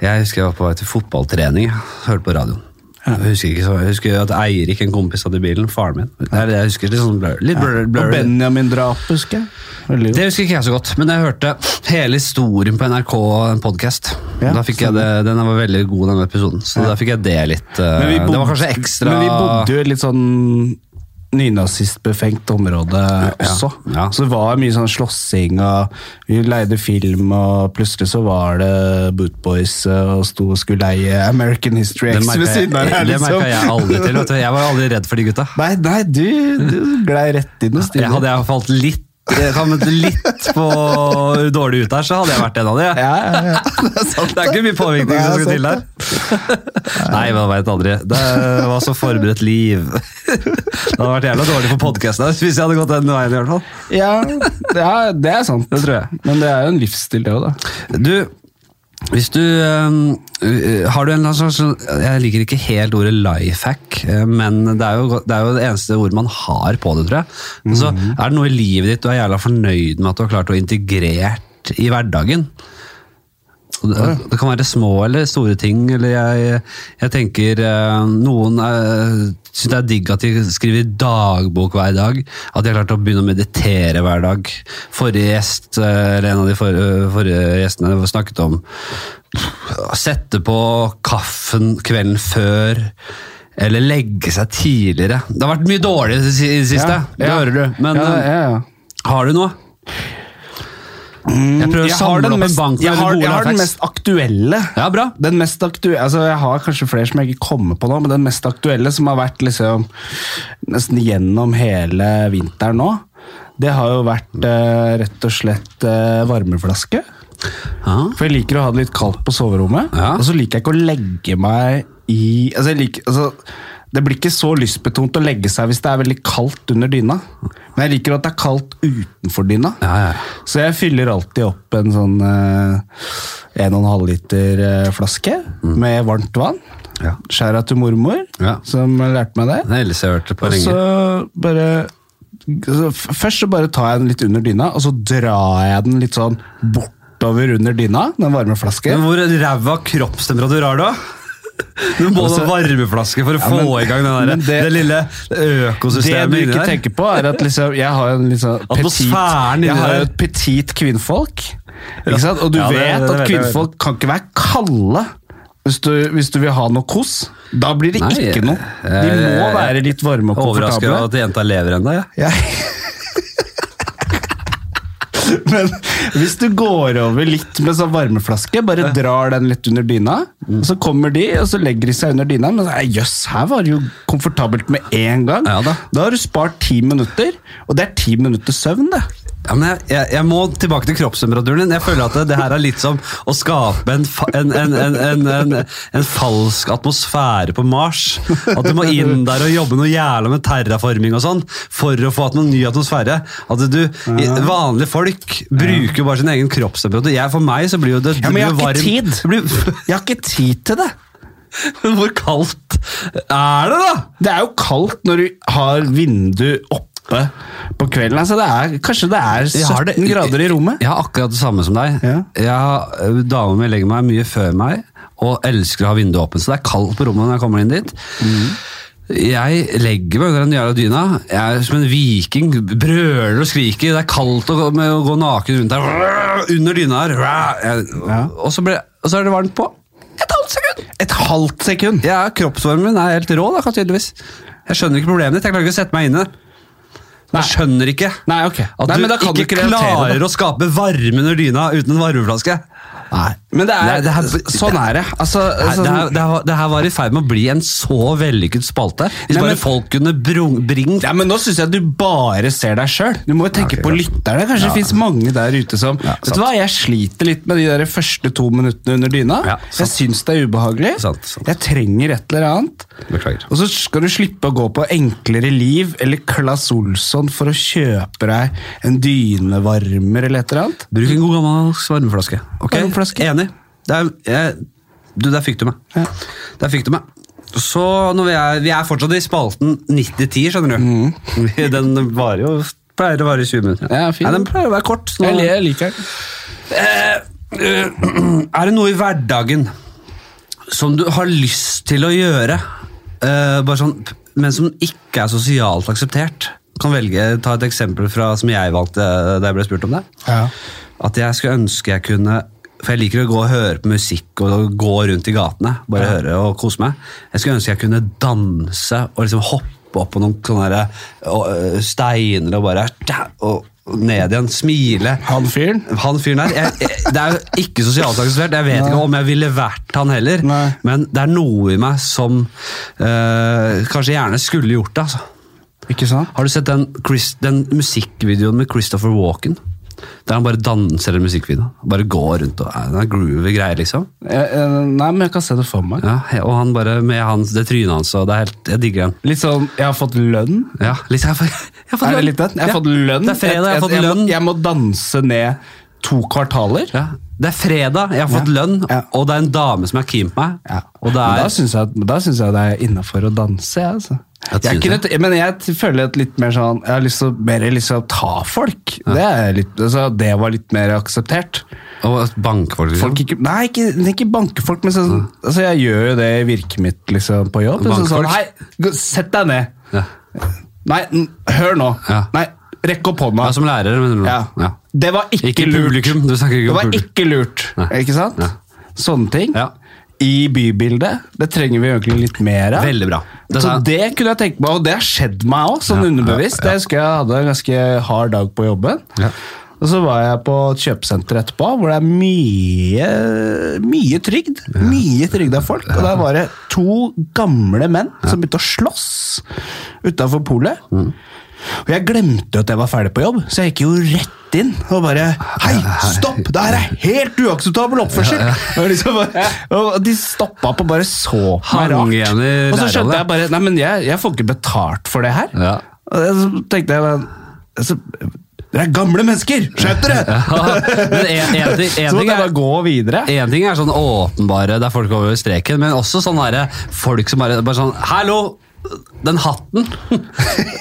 B: Jeg husker jeg var på vei til fotballtrening. jeg Hørte på radioen. Jeg husker, ikke så, jeg husker at Eirik, en kompis, hadde bilen. Faren min. Det er det jeg husker litt sånn blur, litt blur,
C: Og
B: blur.
C: Benjamin-drapet, husker jeg. Veldig godt.
B: Det husker ikke jeg så godt, men jeg hørte hele historien på NRK, en podkast.
C: Ja,
B: da fikk jeg det, den var veldig god, den episoden. Så da fikk jeg det litt eh,
C: Men vi bodde,
B: Det var kanskje ekstra
C: Men vi bodde jo i et litt sånn nynazistbefengt område også.
B: ja.
C: Så det var mye sånn slåssing, og vi leide film, og plutselig så var det Bootboys og sto og skulle leie American History
B: Det
C: X
B: merka
C: ved
B: jeg,
C: siden av her, liksom.
B: det merket jeg aldri til. Vet du. Jeg var aldri redd for de gutta.
C: Nei, nei, du, du glei rett inn hos
B: Jeg hadde jeg falt litt jeg kommet litt på dårlig ut der, så hadde jeg vært en av de. jeg.
C: Ja, ja, ja. Det er sant.
B: Det er ikke mye påvirkning
C: Nei,
B: som
C: det er
B: skulle til der. Nei, man veit aldri. Det var så forberedt liv. Det hadde vært jævla dårlig for podkasten hvis jeg hadde gått den veien. i hvert fall.
C: Ja, det er, det er sant. Det tror jeg. Men det er jo en livsstil, det òg, da.
B: Du, hvis du øhm, øh, Har du en eller annen slags Jeg liker ikke helt ordet lifehack, øh, men det er, jo, det er jo det eneste ordet man har på det, tror jeg. Men så er det noe i livet ditt du er jævla fornøyd med at du har klart å integrert i hverdagen. Og Det, det kan være små eller store ting, eller jeg, jeg tenker øh, Noen øh, syns det er digg at de skriver dagbok hver dag. At de har klart å begynne å meditere hver dag. Forrige gjest, øh, eller en av de for, øh, forrige gjestene snakket om sette på kaffen kvelden før. Eller legge seg tidligere. Det har vært mye dårlig i det si- i det siste. Det hører du. Men
C: ja, ja, ja.
B: øh, har du noe? Jeg prøver å
C: Mm, har
B: samle
C: den
B: opp en
C: mest-
B: bank med
C: jeg har,
B: gode
C: jeg har den
B: lifehacks.
C: mest aktuelle.
B: Ja, bra.
C: Den mest aktuelle, altså Jeg har kanskje flere som jeg ikke kommer på nå, men den mest aktuelle som har vært liksom nesten gjennom hele vinteren nå, Det har jo vært eh, rett og slett eh, varmeflaske.
B: Ah.
C: For jeg liker å ha det litt kaldt på soverommet.
B: Ja.
C: Og så liker jeg ikke å legge meg i altså jeg liker, altså, Det blir ikke så lystbetont å legge seg hvis det er veldig kaldt under dyna. Men jeg liker at det er kaldt utenfor dyna.
B: Ja, ja.
C: Så jeg fyller alltid opp en sånn eh, 1,5 liter eh, flaske med varmt vann.
B: Mm. Ja.
C: Skjæra til mormor,
B: Ja.
C: som lærte meg det.
B: Det er ellers jeg har hørt det på
C: Og så
B: lenge.
C: bare så f- Først så bare tar jeg den litt under dyna, og så drar jeg den litt sånn bortover under dyna, den varme
B: Men
C: flasken.
B: hvor ræva kroppstemperatur har du, da? Du må
C: Altså-
B: ha varmeflaske for å
C: men-
B: få i gang den der,
C: men
B: det,
C: det-
B: lille
C: Det
B: økosystemet
C: du
B: inni
C: ikke
B: der.
C: tenker på, er at liksom, jeg har en litt sånn petit,
B: Atmosfæren inni
C: jeg har
B: der.
C: jo et petit kvinnfolk. Ikke sant? Og du
B: Ja, det-
C: vet
B: det
C: at
B: vet jeg, vet
C: kvinnfolk kan ikke være kalde. Hvis du, hvis du vil ha noe kos, da blir det
B: Nei,
C: ikke noe. De
B: jeg-
C: må
B: jeg-
C: være litt varme og
B: Overraska
C: komfortable.
B: at jenta lever ennå, jeg.
C: Ja. Men hvis du går over litt med sånn varmeflaske, bare drar den litt under dyna,
B: Mm.
C: og så kommer de, og så legger de seg under dyna, men så er, jøss, her var det jo komfortabelt med en gang.
B: Ja da.
C: har du spart ti minutter, og det er ti minutter søvn, det.
B: Ja, men jeg, jeg, jeg må tilbake til kroppstemperaturen din. Jeg føler at det, det her er litt som å skape en, fa- en, en, en, en, en, en falsk atmosfære på Mars. At du må inn der og jobbe noe jævla med terraforming og sånn for å få at noen ny atmosfære. At du, i- Vanlige folk bruker jo bare sin egen kroppstemperatur. Jeg, for meg så blir jo det
C: Ja, men jeg har
B: det blir
C: ikke
B: varm-
C: tid.
B: Det blir,
C: Jeg har ikke tid til det.
B: men hvor kaldt er det, da?
C: Det er jo kaldt når du har vindu oppe på kvelden. Altså det er, kanskje det er 17
B: Jeg har det-
C: grader i rommet.
B: Jeg har akkurat det samme som deg.
C: Ja.
B: Jeg har- ø, Dama mi legger meg mye før meg, og elsker å ha vinduet åpent, så det er kaldt på rommet når jeg kommer inn dit. Jeg legger meg under den jævla dyna. Jeg er som en viking. Brøler og skriker. Det er kaldt å gå, med, å gå naken rundt der. Under dyna her. Jeg,
C: Ja.
B: og, så ble, og så er det varmt på et halvt sekund!
C: Et halvt sekund.
B: Jeg er- kroppsvarmen min er helt rå, da, tydeligvis. Jeg skjønner ikke problemet ditt. Jeg klarer ikke å sette meg inn i det.
C: Nei.
B: Jeg skjønner ikke.
C: Nei, ok.
B: At
C: Nei,
B: du
C: men da kan du
B: ikke,
C: ikke relatere
B: klarer
C: det.
B: å skape varme under dyna uten en varmeflaske.
C: Nei. Men det er,
B: Nei, det her-
C: sånn er det. Altså,
B: Nei,
C: sånn-
B: det, her, det, her, det her var i ferd med å bli en så vellykket spalte. Hvis
C: Nei, men-
B: bare folk kunne brung, bringt
C: ja, men Nå syns jeg at du bare ser deg sjøl. Du må jo tenke
B: ok,
C: på
B: kanskje.
C: lytterne. Kanskje det fins mange der ute som Vet
B: sant.
C: du hva, Jeg sliter litt med de der første to minuttene under dyna.
B: Ja,
C: jeg
B: sant.
C: syns det er ubehagelig.
B: Sant, sant.
C: Jeg trenger et eller annet.
B: Beklager.
C: Og så skal du slippe å gå på Enklere liv eller Claes Olsson for å kjøpe deg en dynevarmer eller et eller annet.
B: Bruk en god gammeldags varmeflaske. Ok,
C: Varmeflaske.
B: Enig. Det er, jeg, du, der fikk du meg.
C: Ja.
B: Der fikk du meg. Så når vi, er, vi er fortsatt i spalten 90-10, skjønner du. Den varer jo pleier å vare i 20 minutter.
C: Mm. Ja, fin.
B: Nei, den pleier å være kort. så nå-
C: liker den.
B: Eh, Er det noe i hverdagen som du har lyst til å gjøre, eh, bare sånn, men som ikke er sosialt akseptert? Kan velge, Ta et eksempel fra, som jeg valgte eh, da jeg ble spurt om det.
C: Ja.
B: At jeg skulle ønske jeg kunne For jeg liker å gå og høre på musikk og gå rundt i gatene. Bare høre og kose meg. Jeg skulle ønske jeg kunne danse og liksom hoppe opp på noen sånne der, og, øh, steiner og bare tja, og ned igjen. Smile.
C: Han fyren?
B: Han fyren der. Jeg, jeg, det er jo ikke sosialt akseptert. Jeg vet ikke om jeg ville vært han heller.
C: Nei.
B: Men det er noe i meg som øh, kanskje gjerne skulle gjort det. altså.
C: Ikke sant?
B: Har du sett den, Chris, den musikkvideoen med Christopher Walken? Der han bare danser i musikkvideoen. Bare går rundt og er en groovy greie, liksom.
C: Jeg- jeg- Nei, men jeg kan se det for meg.
B: Ja, og han bare med hans, det trynet hans, og det er helt, jeg digger den.
C: Litt sånn, jeg har fått lønn.
B: Ja, litt, jeg har fått, jeg har fått
C: Er det
B: lønn.
C: litt den? Jeg har
B: Ja,
C: fått lønn.
B: Det er fredag, jeg har fått lønn.
C: Må, jeg må danse ned to kvartaler.
B: Ja, det er fredag, jeg har fått
C: Ja.
B: lønn,
C: Ja.
B: og det er en dame som er keen på meg. Og det
C: Men Da
B: er,
C: syns jeg, at- da synes jeg det er innafor å danse, jeg, altså.
B: Ja, det
C: Jeg, er ikke
B: synes
C: nødt- men jeg t- føler et litt mer sånn Jeg har lyst til å mer lyst til å ta folk. Det, er litt, altså, det var litt mer akseptert.
B: og bankfolk, liksom.
C: Folk ikke, nei, ikke, ikke banke folk, men sånn altså, Jeg gjør jo det i virket mitt liksom, på jobb.
B: Banke
C: Sånn, sånn,
B: folk?
C: hei, gå- sett deg ned.
B: Ja.
C: Nei, n- hør nå.
B: Ja.
C: Nei, rekk opp hånda.
B: Ja, som lærer, mener du?
C: Ja.
B: Ja.
C: Det var ikke,
B: Ikke
C: lurt.
B: publikum, du snakker ikke
C: det
B: om
C: var
B: publikum.
C: ikke lurt,
B: Nei.
C: ikke sant?
B: Ja.
C: Sånne ting.
B: Ja.
C: I bybildet. Det trenger vi egentlig litt mer av.
B: Veldig bra. Det
C: Det så
B: sa-
C: det kunne jeg tenke meg, og det har skjedd meg òg, sånn
B: Ja,
C: underbevisst. Jeg husker jeg hadde en ganske hard dag på jobben.
B: Ja.
C: Og så var jeg på et kjøpesenter etterpå, hvor det er mye, mye trygd. Mye trygda folk. Og der var det
B: Mm.
C: to gamle menn som begynte å slåss utafor polet. Og jeg glemte jo at jeg var ferdig på jobb, så jeg gikk jo rett inn og bare Hei, stopp! Det her er helt uakseptabel oppførsel! Og, liksom bare, og de stoppa opp og bare så på meg
B: Hang
C: rart.
B: igjen i
C: Og så
B: lærerne.
C: skjønte jeg bare Nei, men jeg, jeg får ikke betalt for det her.
B: Ja.
C: Og så tenkte jeg men, altså, Dere er gamle mennesker! Skjønt dere!
B: Men en, en, ting- en,
C: Så måtte
B: ting er,
C: jeg bare gå videre.
B: en ting er sånn åpenbare der folk går over streken, men også sånn derre folk som bare, bare sånn Hallo! Den hatten!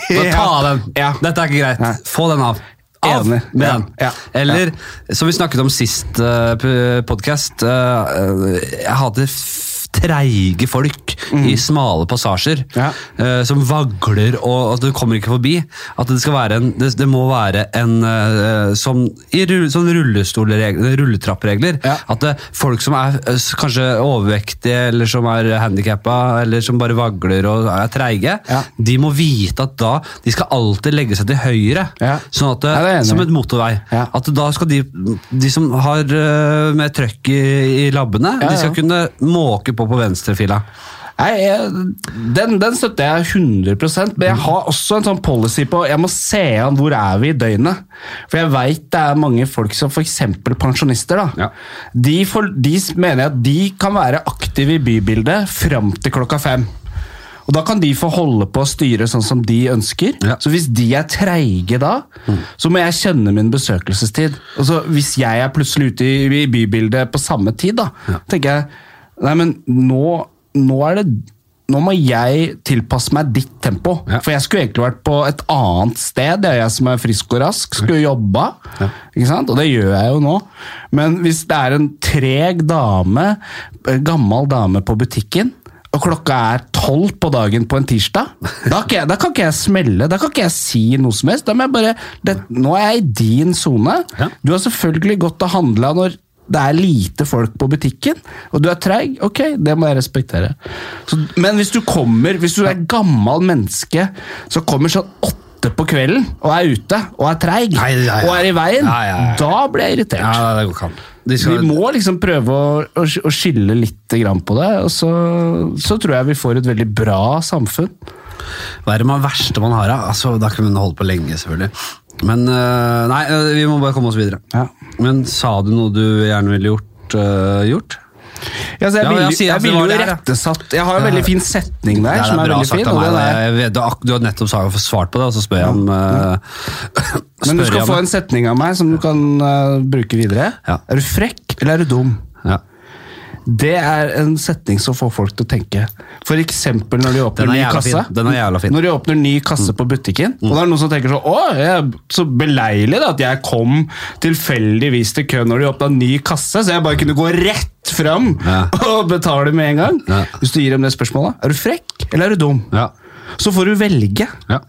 B: Bare ta av den.
C: Ja.
B: Dette er ikke greit.
C: Nei.
B: Få den av. Av
C: Enig.
B: med
C: Ja,
B: den.
C: ja,
B: Eller, som vi snakket om sist eh, p- podcast, eh, jeg hater f- treige folk i smale passasjer
C: Mm. Ja.
B: eh, som vagler og at du kommer ikke forbi. At det skal være en, det, det må være en eh, som i rull, sånn rullestolregler, rulletrappregler,
C: Ja.
B: at det, folk som er eh, s- kanskje overvektige eller som er handikappa eller som bare vagler og er treige,
C: Ja.
B: de må vite at da, de skal alltid legge seg til høyre.
C: Ja.
B: Sånn at,
C: Ja, det er jeg enig
B: som
C: i.
B: et motorvei.
C: Ja.
B: At da skal de, de som har eh, mer trøkk i, i labbene,
C: Ja,
B: de skal
C: ja.
B: kunne måke på på venstrefila.
C: Nei, jeg, den, den støtter jeg 100 men
B: Mm.
C: jeg har også en sånn policy på Jeg må se an hvor er vi i døgnet. For jeg veit det er mange folk som f.eks. pensjonister. da.
B: Ja.
C: De, får- de s- mener jeg at de kan være aktive i bybildet fram til klokka fem. Og Da kan de få holde på å styre sånn som de ønsker.
B: Ja.
C: Så Hvis de er treige da, så må jeg kjenne min besøkelsestid. Og så Hvis jeg er plutselig ute i, i bybildet på samme tid, da, tenker jeg Nei, men nå, nå er det nå må jeg tilpasse meg ditt tempo.
B: Ja.
C: For jeg skulle egentlig vært på et annet sted. Det er jeg som er frisk og rask, skulle jobba. Ikke sant? Og det gjør jeg jo nå. Men hvis det er en treg dame, eh, gammel dame på butikken, og klokka er tolv på dagen på en tirsdag, da kan, jeg, da kan ikke jeg smelle. Da kan ikke jeg si noe som helst. Da må jeg bare det, Nå er jeg i din sone.
B: Ja.
C: Du har selvfølgelig gått og handla når det er lite folk på butikken, og du er treig. Ok, det må jeg respektere. Så, men hvis du kommer, hvis du er gammel menneske som kommer sånn åtte på kvelden og er ute og er treig
B: Nei, ja, ja.
C: og er i veien,
B: Ja, ja, ja.
C: da blir jeg irritert.
B: det går ikke an. De
C: Vi
B: skal,
C: må liksom prøve å, å, å skille litt grann på det, og så, så tror jeg vi får et veldig bra samfunn.
B: Hva er det man- verste man har? da? Altså, da kunne man holdt på lenge, selvfølgelig. Men øh, nei, øh, vi må bare komme oss videre.
C: Ja.
B: Men sa du noe du gjerne ville gjort? øh, gjort?
C: Ja,
B: Ja,
C: så jeg ville
B: ja, si
C: jeg
B: at det
C: ville
B: var
C: jo
B: det her, ja.
C: rettesatt Jeg har en
B: Ja.
C: veldig fin setning der, som er veldig fin.
B: av
C: og
B: meg.
C: den er-
B: da. Jeg vet, du har- du har nettopp sagt- svart på det, og så spør jeg om øh, spør
C: Men du
B: jeg
C: skal
B: om det.
C: få en setning av meg som du kan eh, bruke videre.
B: Ja.
C: Er du frekk, eller er du dum?
B: ja.
C: Det er en setning som får folk til å tenke. For eksempel når de
B: Den
C: åpner
B: er
C: ny
B: jævla
C: kasse.
B: fin. Den er jævla fin. Mm.
C: Når de åpner ny kasse på butikken, og det er noen som tenker sånn Å, jeg, så beleilig da, at jeg kom tilfeldigvis til køen når de åpna ny kasse, så jeg bare kunne gå rett fram
B: Ja.
C: og betale med en gang.
B: Ja.
C: Hvis du gir dem det spørsmålet, er du frekk, eller er du dum?
B: Ja.
C: Så får du velge.
B: Ja.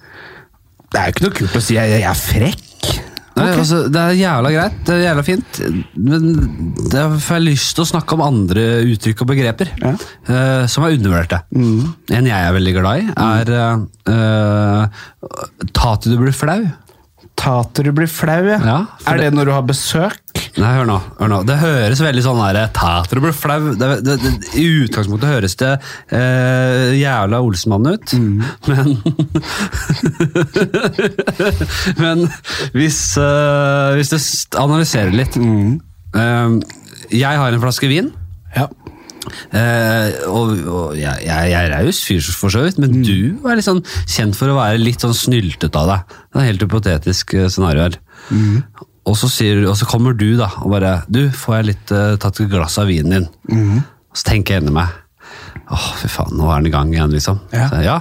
C: Det er jo ikke noe kult å si jeg, jeg er frekk.
B: Nei,
C: Ok.
B: altså, det er jævla greit, det er jævla fint, men det er for jeg har lyst til å snakke om andre uttrykk og begreper
C: Ja. Mm.
B: eh, som er undervurderte. En jeg er veldig glad i, er eh, eh, ta til du blir flau.
C: Ta til du blir flau, ja.
B: Ja, for
C: er det, når du har besøk?
B: Nei, hør nå. hør nå. Det høres veldig sånn der, ta til du blir flau. Det, det, det, I utgangspunktet høres det eh, jævla Olsenmannen ut, men Men hvis, eh, hvis du st- analyserer litt eh, Jeg har en flaske vin.
C: Ja.
B: Eh, og, og jeg, jeg, jeg er raus fyr, for så vidt, men
C: Mm.
B: du er litt sånn kjent for å være litt sånn snyltete av deg. Det er et helt hypotetisk eh, scenario her.
C: Mm.
B: Og, så sier, du- og så kommer du da og bare Du, får jeg litt eh, tatt et glass av vinen din?
C: Mm.
B: Og så tenker jeg inni meg Åh, fy faen, nå er den i gang igjen, liksom.
C: Ja.
B: Så, ja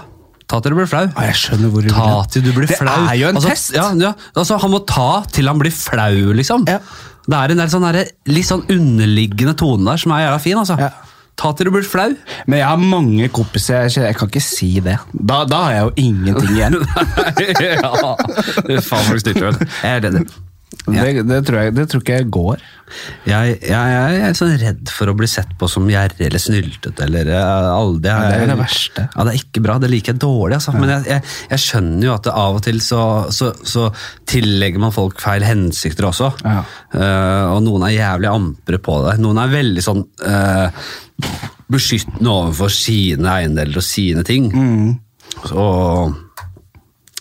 B: ta til du blir flau.
C: Ah, jeg skjønner hvor du
B: Ta
C: vil hen.
B: til du blir
C: Det
B: flau.
C: er jo en
B: altså,
C: test.
B: Ja, ja, altså, han må ta til han blir flau, liksom.
C: Ja.
B: Det er en del sånn derre- litt sånn underliggende tone der som er jævla fin. altså.
C: Ja.
B: Ta til du blir flau.
C: Men jeg har mange kompiser. Jeg, kjenner- jeg kan ikke si det. Da, da har jeg jo ingenting igjen.
B: ja. Faen, folk styrter vel. Jeg er redd.
C: det, det, tror jeg, det tror ikke jeg går.
B: Jeg, jeg, jeg er sånn redd for å bli sett på som gjerrig eller snyltete eller eh, alle det.
C: Ja, det er det verste.
B: Ja, det er ikke bra. Det liker jeg dårlig, altså. Men jeg, jeg, jeg skjønner jo at det av og til så, så, så tillegger man folk feil hensikter også.
C: Ja.
B: Eh, og noen er jævlig ampre på det. Noen er veldig sånn eh,
C: Mm.
B: beskyttende overfor sine eiendeler og sine ting. Så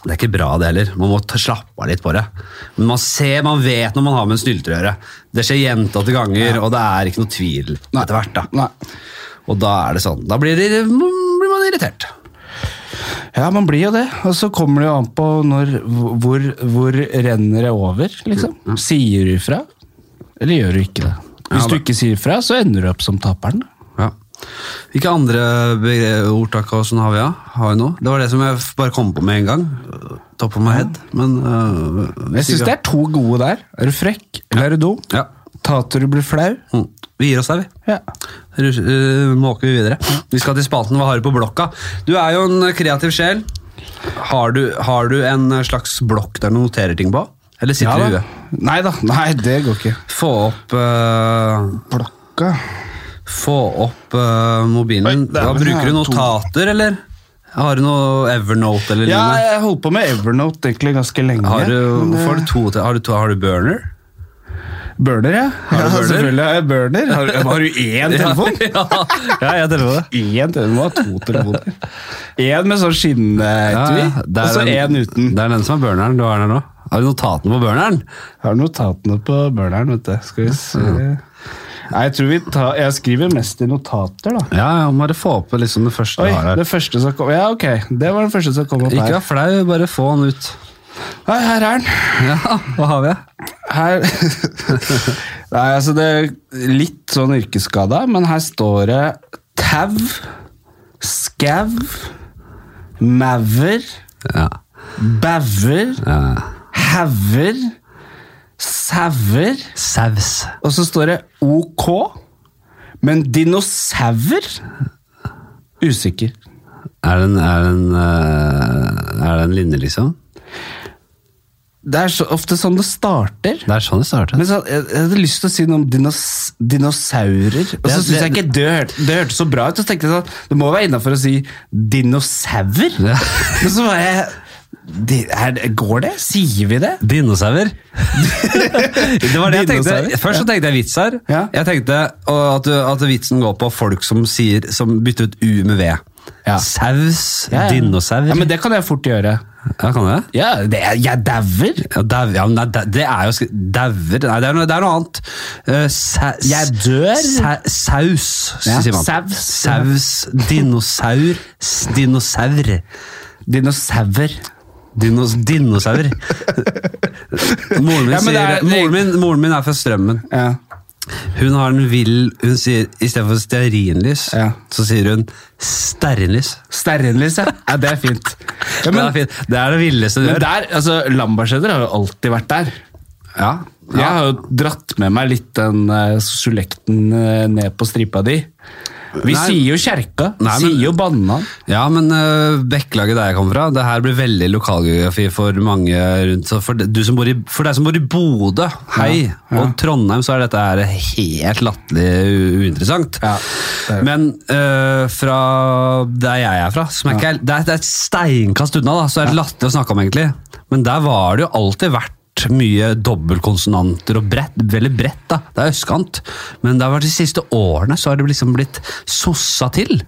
B: Det er ikke bra, det heller. Man må ta, slappe av litt på det. Men man ser, man vet når man har med en snylter å gjøre. Det skjer gjentatte ganger, og det er ikke noe tvil etter hvert. da.
C: Nei.
B: Og da er det sånn. Da blir, det, blir man irritert.
C: Ja, man blir jo det. Og så kommer det jo an på når, hvor, hvor renner det over, liksom. Sier du ifra, eller gjør du ikke det? Hvis
B: Ja,
C: du
B: da-
C: ikke sier ifra, så ender du opp som taperen.
B: Ja. Hvilke andre begre- ordtak og sånn har vi, da? Har vi noe? Det var det som jeg f- bare kom på med en gang. Top of my head. Men øh, hvis
C: Jeg syns
B: ikke-
C: det er to gode der. Er du frekk, eller er du dum?
B: Ja.
C: Ta til du blir flau.
B: Mm. Vi gir oss der, vi.
C: Ja.
B: Rus- øh, måker vi videre. Vi skal til spalten Hva har du på blokka? Du er jo en kreativ sjel. Har du, har du en slags blokk der du noterer ting på? Eller sitter du i
C: da.
B: huet?
C: Nei da. Nei, det går ikke.
B: Få opp øh,
C: Blokka
B: Få opp øh, mobilen.
C: Oi, der
B: Hva
C: var det
B: Bruker du
C: her, to.
B: notater, eller? Har du noe Evernote eller
C: Ja,
B: lignende?
C: jeg holdt på med Evernote egentlig ganske lenge.
B: Har du,
C: men eh, det-
B: hvorfor har du to til? Har du, to, har du burner?
C: Burner, ja.
B: du
C: ja
B: burner?
C: selvfølgelig har jeg burner. Har, har du én telefon?
B: ja, ja, jeg teller på det.
C: Én telefon, har to telefoner. Én med sånn skinnetui,
B: Ja, det er
C: og så
B: den-
C: én uten.
B: Det er den som er burneren. Du har den her nå. Har du notatene på burneren?
C: Har notatene på burneren, vet du. Skal vi se Nei, jeg tror vi tar Jeg skriver mest i notater, da.
B: Ja, ja, bare få opp liksom det første
C: Oi,
B: du har her.
C: det første som kom Ja, ok. Det var den første som kom opp
B: Ikke
C: her.
B: vær flau, bare få den ut.
C: Nei, her er den.
B: Ja, hva har vi?
C: Her Nei, altså det er litt sånn yrkesskada, men her står det tau, skau, maur,
B: Ja.
C: bauer,
B: eh,
C: hauger, sauer,
B: saus.
C: og så står det OK, men dinosaur? Usikker.
B: Er det en, er det en, eh, er det en linje, liksom?
C: Det er så ofte sånn det starter.
B: Det er sånn det startet.
C: Men så, jeg, jeg hadde lyst til å si noe om dinos, dinosaurer. Og så
B: Det-
C: syns jeg
B: det-
C: ikke det, hør, det hørtes så bra ut. Og så tenkte jeg sånn, Det må være innafor å si dinosaur.
B: Ja.
C: Men så var jeg det, er, det- Går det? Sier vi det?
B: Dinosaurer? det var det jeg tenkte.
C: Dinosaurer,
B: Først så tenkte jeg vits her.
C: Ja.
B: Jeg tenkte og at, at vitsen går på folk som, sier, som bytter ut U med V.
C: Ja.
B: Saus,
C: Ja, ja.
B: dinosaur.
C: Ja, Men det kan jeg fort gjøre.
B: Ja, kan du det?
C: Ja, det, er- jeg dauer.
B: Ja, dau, ja, men det, det er jo sk- Dauer Nei, det er noe, det er noe annet. Eh, sa,
C: Jeg dør.
B: Sa, saus,
C: Ja,
B: sier man.
C: saus.
B: Saus, dinosaur, s- dinosaur.
C: Dinosaur.
B: Dinos, dinosaur. moren, min
C: Ja, men det er-
B: sier, moren, min, moren min er fra Strømmen.
C: Ja.
B: Hun har en vill Hun sier istedenfor stearinlys,
C: Ja.
B: så sier hun stearinlys.
C: Stearinlys, ja. ja. Det er fint.
B: det,
C: Ja,
B: er
C: men,
B: fint. det er det villeste du
C: men
B: gjør.
C: der, altså, Lambertseter har jo alltid vært der.
B: Ja.
C: Jeg
B: Ja.
C: har jo dratt med meg litt den eh, solekten eh, ned på stripa di. Vi
B: Nei.
C: sier jo kjerka,
B: Nei, men-
C: sier jo banna.
B: ja, men uh, Bekkelaget der jeg kommer fra, det her blir veldig lokalgeografi for mange rundt. Så for, du som bor i, for deg som bor i Bodø, hei,
C: Ja, ja.
B: og Trondheim, så er dette her helt latterlig u- uinteressant.
C: Ja, det er det.
B: Men eh, fra der jeg er fra, som er ikke, det, er, det er et steinkast unna, da, så er det latterlig å snakke om, egentlig. Men der var det jo alltid vært mye dobbeltkonsonanter og bredt, veldig bredt. da, Det er østkant. Men det har vært de siste årene så har det liksom blitt sossa til.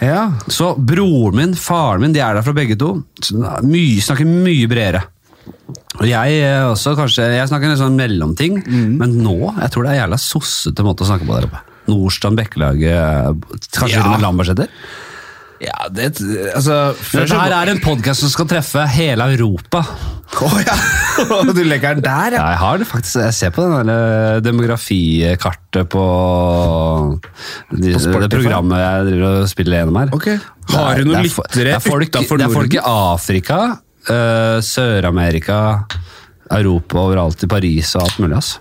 C: Ja.
B: Så broren min, faren min, de er der fra begge to. Så det er Mye, snakker mye bredere. Og jeg eh, også, kanskje, jeg snakker en sånn mellomting,
C: Mm.
B: men nå, jeg tror det er en jævla sossete måte å snakke på der oppe. Nordstrand, Bekkelaget, eh, kanskje
C: Ja.
B: til og med Lambertseter.
C: ja, det Altså
B: Dette
C: så-
B: her er en podkast som skal treffe hele Europa.
C: Å, ja. Du legger den der,
B: Ja,
C: ja.
B: jeg har det faktisk, jeg ser på den der eh, demografikartet på, eh, de,
C: Spotify?
B: det programmet jeg driver og spiller gjennom her.
C: Ok. Har
B: Det er-
C: du noen
B: det er fo-
C: lyttere
B: det er folk-
C: utenfor
B: Det er folk i
C: Norden?
B: Afrika, eh, Sør-Amerika, Europa, overalt i Paris og alt mulig, ass.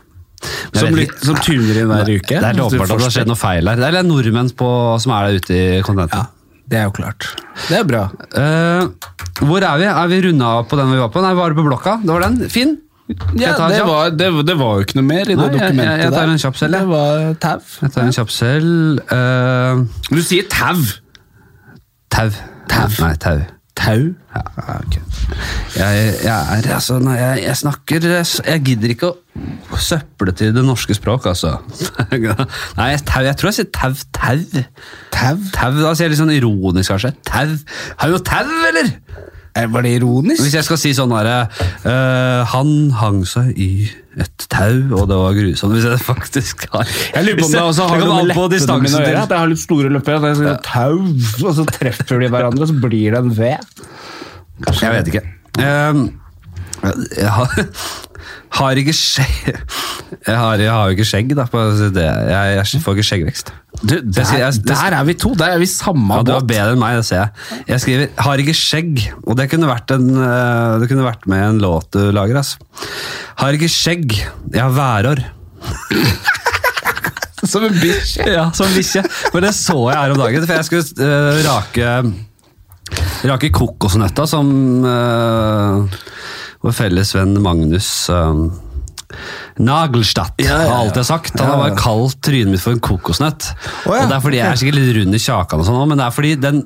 B: Men jeg
C: Som
B: vet
C: lyt-
B: ikke-
C: som tuner inn hver
B: Nei,
C: uke?
B: Det er
C: Hvis du
B: åpenbart at det har
C: forsker.
B: skjedd noe feil her. Det er det er nordmenn på, som er der ute i kontinentet.
C: Det er jo klart. Det er bra.
B: Eh, hvor er vi? Er vi runda av på den vi var på? Nei, var det på blokka? Det var den. Finn? Skal jeg ta en
C: det,
B: kjapp?
C: var, det, det var jo ikke noe mer i det
B: Nei, jeg- jeg-
C: dokumentet
B: jeg tar
C: der.
B: en kjapp selv, jeg.
C: Det var eh, tau.
B: Jeg tar en kjapp selv. Eh,
C: Du sier tau.
B: Tau.
C: Tau.
B: Nei, tau.
C: Tau? Ja, ok.
B: Jeg, jeg er altså når jeg, jeg snakker jeg s- Jeg gidder ikke å søple til det norske språk, altså. Nei, jeg- tau. Jeg tror jeg sier tau. Tau.
C: Tau?
B: Tau, Da sier jeg litt sånn ironisk, kanskje. Tau. Har du noe tau, eller?
C: Eh, Var det ironisk?
B: Hvis jeg skal si sånn herre eh, Han hang seg i et tau, og det var grusomt. Hvis jeg faktisk har
C: Jeg lurer på om det også har
B: Jeg kan
C: noe
B: alt
C: med
B: på
C: leppene mine å
B: distansen
C: gjøre.
B: til.
C: At jeg har litt store lepper, at jeg sier tau, og så treffer de hverandre, og så blir det en V.
B: Jeg vet ikke. Eh, jeg har, har ikke skjegg jeg har, jeg har jo ikke skjegg, da. på- så Det, jeg, jeg får ikke skjeggvekst. Jeg sier-
C: der,
B: jeg- det-
C: der er vi to. Der er vi samme
B: Ja, du var
C: båt.
B: bedre enn meg, det ser jeg. Jeg skriver 'har ikke skjegg', og det kunne vært, en, eh, det kunne vært med en låt du lager. Altså. Har ikke skjegg, jeg har værår.
C: Som en bitch.
B: Ja, som bikkje. For det så jeg her om dagen, for jeg skulle eh, rake Rake kokosnøtta som eh, vår felles venn Magnus uh, Nagelstadt har alltid sagt. Han har bare kalt trynet mitt for en kokosnøtt.
C: Å, ja.
B: Og det er fordi Jeg er sikkert litt rund i kjakan, og sånn, også, men det er fordi den,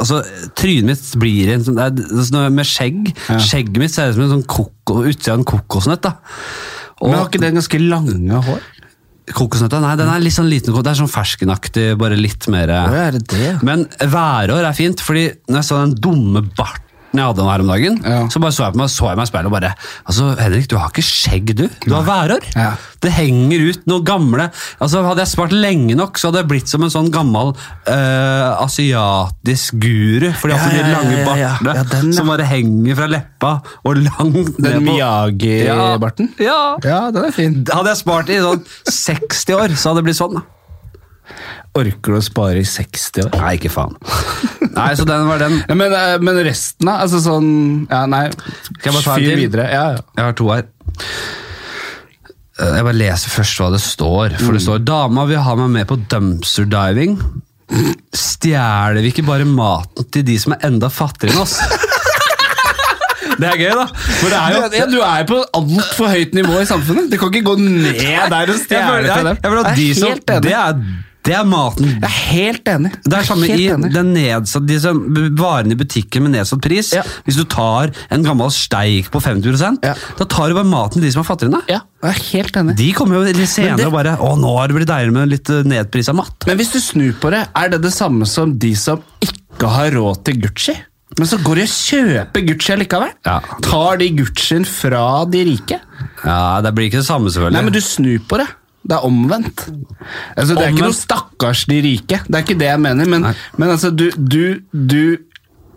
B: altså, trynet mitt blir en sånn det er- det er sånn Med skjegg Skjegget mitt ser ut som en sånn koko, utsida av en kokosnøtt. da og,
C: Men har ikke den ganske lange hår?
B: Kokosnøtta? Nei, den er litt sånn liten. Det er sånn ferskenaktig, bare litt mer eh.
C: Å, er det det?
B: Men værår er fint, fordi når jeg så den dumme barten jeg hadde her om dagen,
C: Ja.
B: så bare så jeg på meg, så jeg meg i speilet og bare Altså, Henrik, du har ikke skjegg, du. Du har værår.
C: Ja.
B: Det henger ut noen gamle Altså, Hadde jeg spart lenge nok, så hadde jeg blitt som en sånn gammel eh, asiatisk guru. Fordi at
C: Ja,
B: de
C: ja, ja,
B: lange
C: ja, ja.
B: bartene
C: Ja, den, ja.
B: som bare henger fra leppa og langt
C: Den
B: ned på
C: Miyagi-barten?
B: Ja. ja.
C: Ja, den er fin.
B: Hadde jeg spart i sånn 60 år, så hadde det blitt sånn. da.
C: Orker du å spare i 60 år?
B: Nei, ikke faen. Nei, så den var den.
C: Ja, men, eh, men resten, da? Altså sånn Ja, nei.
B: jeg bare ta en
C: Fyr
B: til?
C: videre. Ja, ja.
B: Jeg har to her. Eh, Jeg bare leser først hva det står. For det står 'Dama vil ha meg med på dumpster diving'. Stjeler vi ikke bare maten til de som er enda fattigere enn oss? Det er gøy, da. For det er jo
C: du, ja, du er på altfor høyt nivå i samfunnet. Det kan ikke gå ned der og
B: Jeg
C: stjele
B: føler-
C: fra
B: jeg-
C: dem.
B: jeg føler at de
C: Jeg er
B: som-
C: helt enig.
B: Det er, det er maten
C: Jeg er helt enig.
B: Det er samme
C: Helt
B: i
C: enig.
B: den nedsatt, de som, varene i butikken med nedsatt pris.
C: Ja.
B: Hvis du tar en gammel steik på 50
C: Ja.
B: da tar du bare maten til de som er fattigere enn deg.
C: Ja, jeg er helt enig.
B: De kommer jo litt senere
C: det-
B: og bare 'Å, nå har det blitt deilig med litt eh, nedprisa mat'.
C: Men hvis du snur på det, er det det samme som de som ikke har råd til Gucci? Men så går de og kjøper Gucci likevel.
B: Ja.
C: Tar de Guccien fra de rike?
B: Ja, Det blir ikke det samme, selvfølgelig.
C: Nei, men du snur på det. Det er omvendt. Altså, det er ikke
B: Omvendt.
C: noe stakkars de rike. Det er ikke det jeg mener, men,
B: Nei.
C: men altså, du, du, du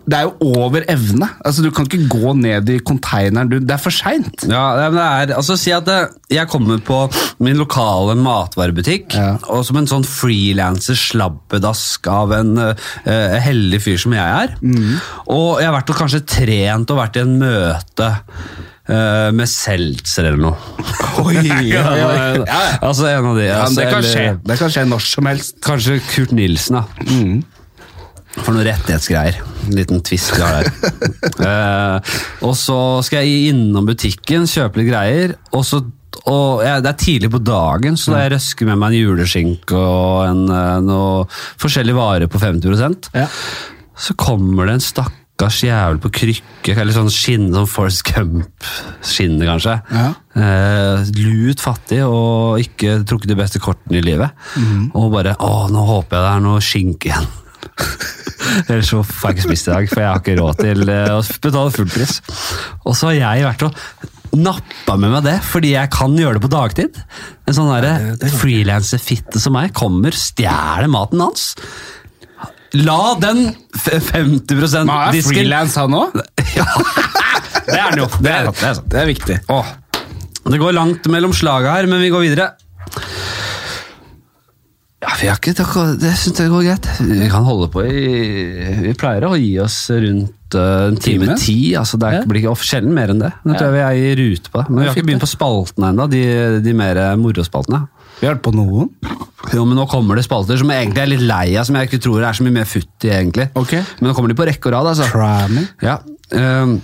C: Det er jo over evne. Altså, du kan ikke gå ned i konteineren. Du, det er for seint.
B: Ja, nei, men det er, altså Si at eh, jeg kommer på min lokale matvarebutikk,
C: Ja.
B: og som en sånn frilanser slabbedask av en eh, eh, heldig fyr som jeg er.
C: Mhm.
B: Og jeg har vært og kanskje trent og vært i en møte eh, med Seltzer eller noe.
C: Oi,
B: Ja,
C: ja, ja.
B: Altså en av de.
C: Ja, men
B: altså,
C: det kan skje.
B: eller-
C: Det kan skje når som helst.
B: Kanskje Kurt Nilsen, da. Mm. For noen rettighetsgreier. En liten twist vi har der. Eh, og så skal jeg innom butikken, kjøpe litt greier, og så og jeg, Det er tidlig på dagen, så jeg røsker med meg en juleskinke og en, eh, noe forskjellige varer på 50
C: Ja.
B: Så kommer det en stakkars jævel på krykke, eller sånn skinn, sånn Forest Gump-skinne, kanskje.
C: Ja.
B: Eh, lut fattig og ikke trukket de beste kortene i livet. Og bare Å, nå håper jeg det er noe skinke igjen. Ellers så får jeg ikke spist i dag, for jeg har ikke råd til eh, å betale full pris. Og så har jeg vært og nappa med meg det, fordi jeg kan gjøre det på dagtid. En sånn derre frilanserfitte som meg kommer, stjeler maten hans. La den f- 50
C: Men han er
B: disken
C: frilans, han òg.
B: Ja, det er den jo. Det er, det er sant.
C: Det er viktig.
B: Åh. Det går langt mellom slaga her, men vi går videre. Ja, vi har ikke, det, det synes jeg går greit. Vi kan holde på i Vi pleier å gi oss rundt eh, en time
C: Time?
B: ti. Altså, det er,
C: Ja.
B: blir ikke of- sjelden mer enn det. Nå tror jeg vi er i rute på det. Men vi har ikke
C: fint,
B: begynt på spaltene ennå, de, de mer morospaltene.
C: Vi har vært på noen.
B: Jo, men nå kommer det spalter som jeg egentlig er litt lei av, som jeg ikke tror det er så mye mer futt i, egentlig.
C: Ok.
B: Men nå kommer de på rekke og rad, altså.
C: Cramming.
B: Ja. ehm,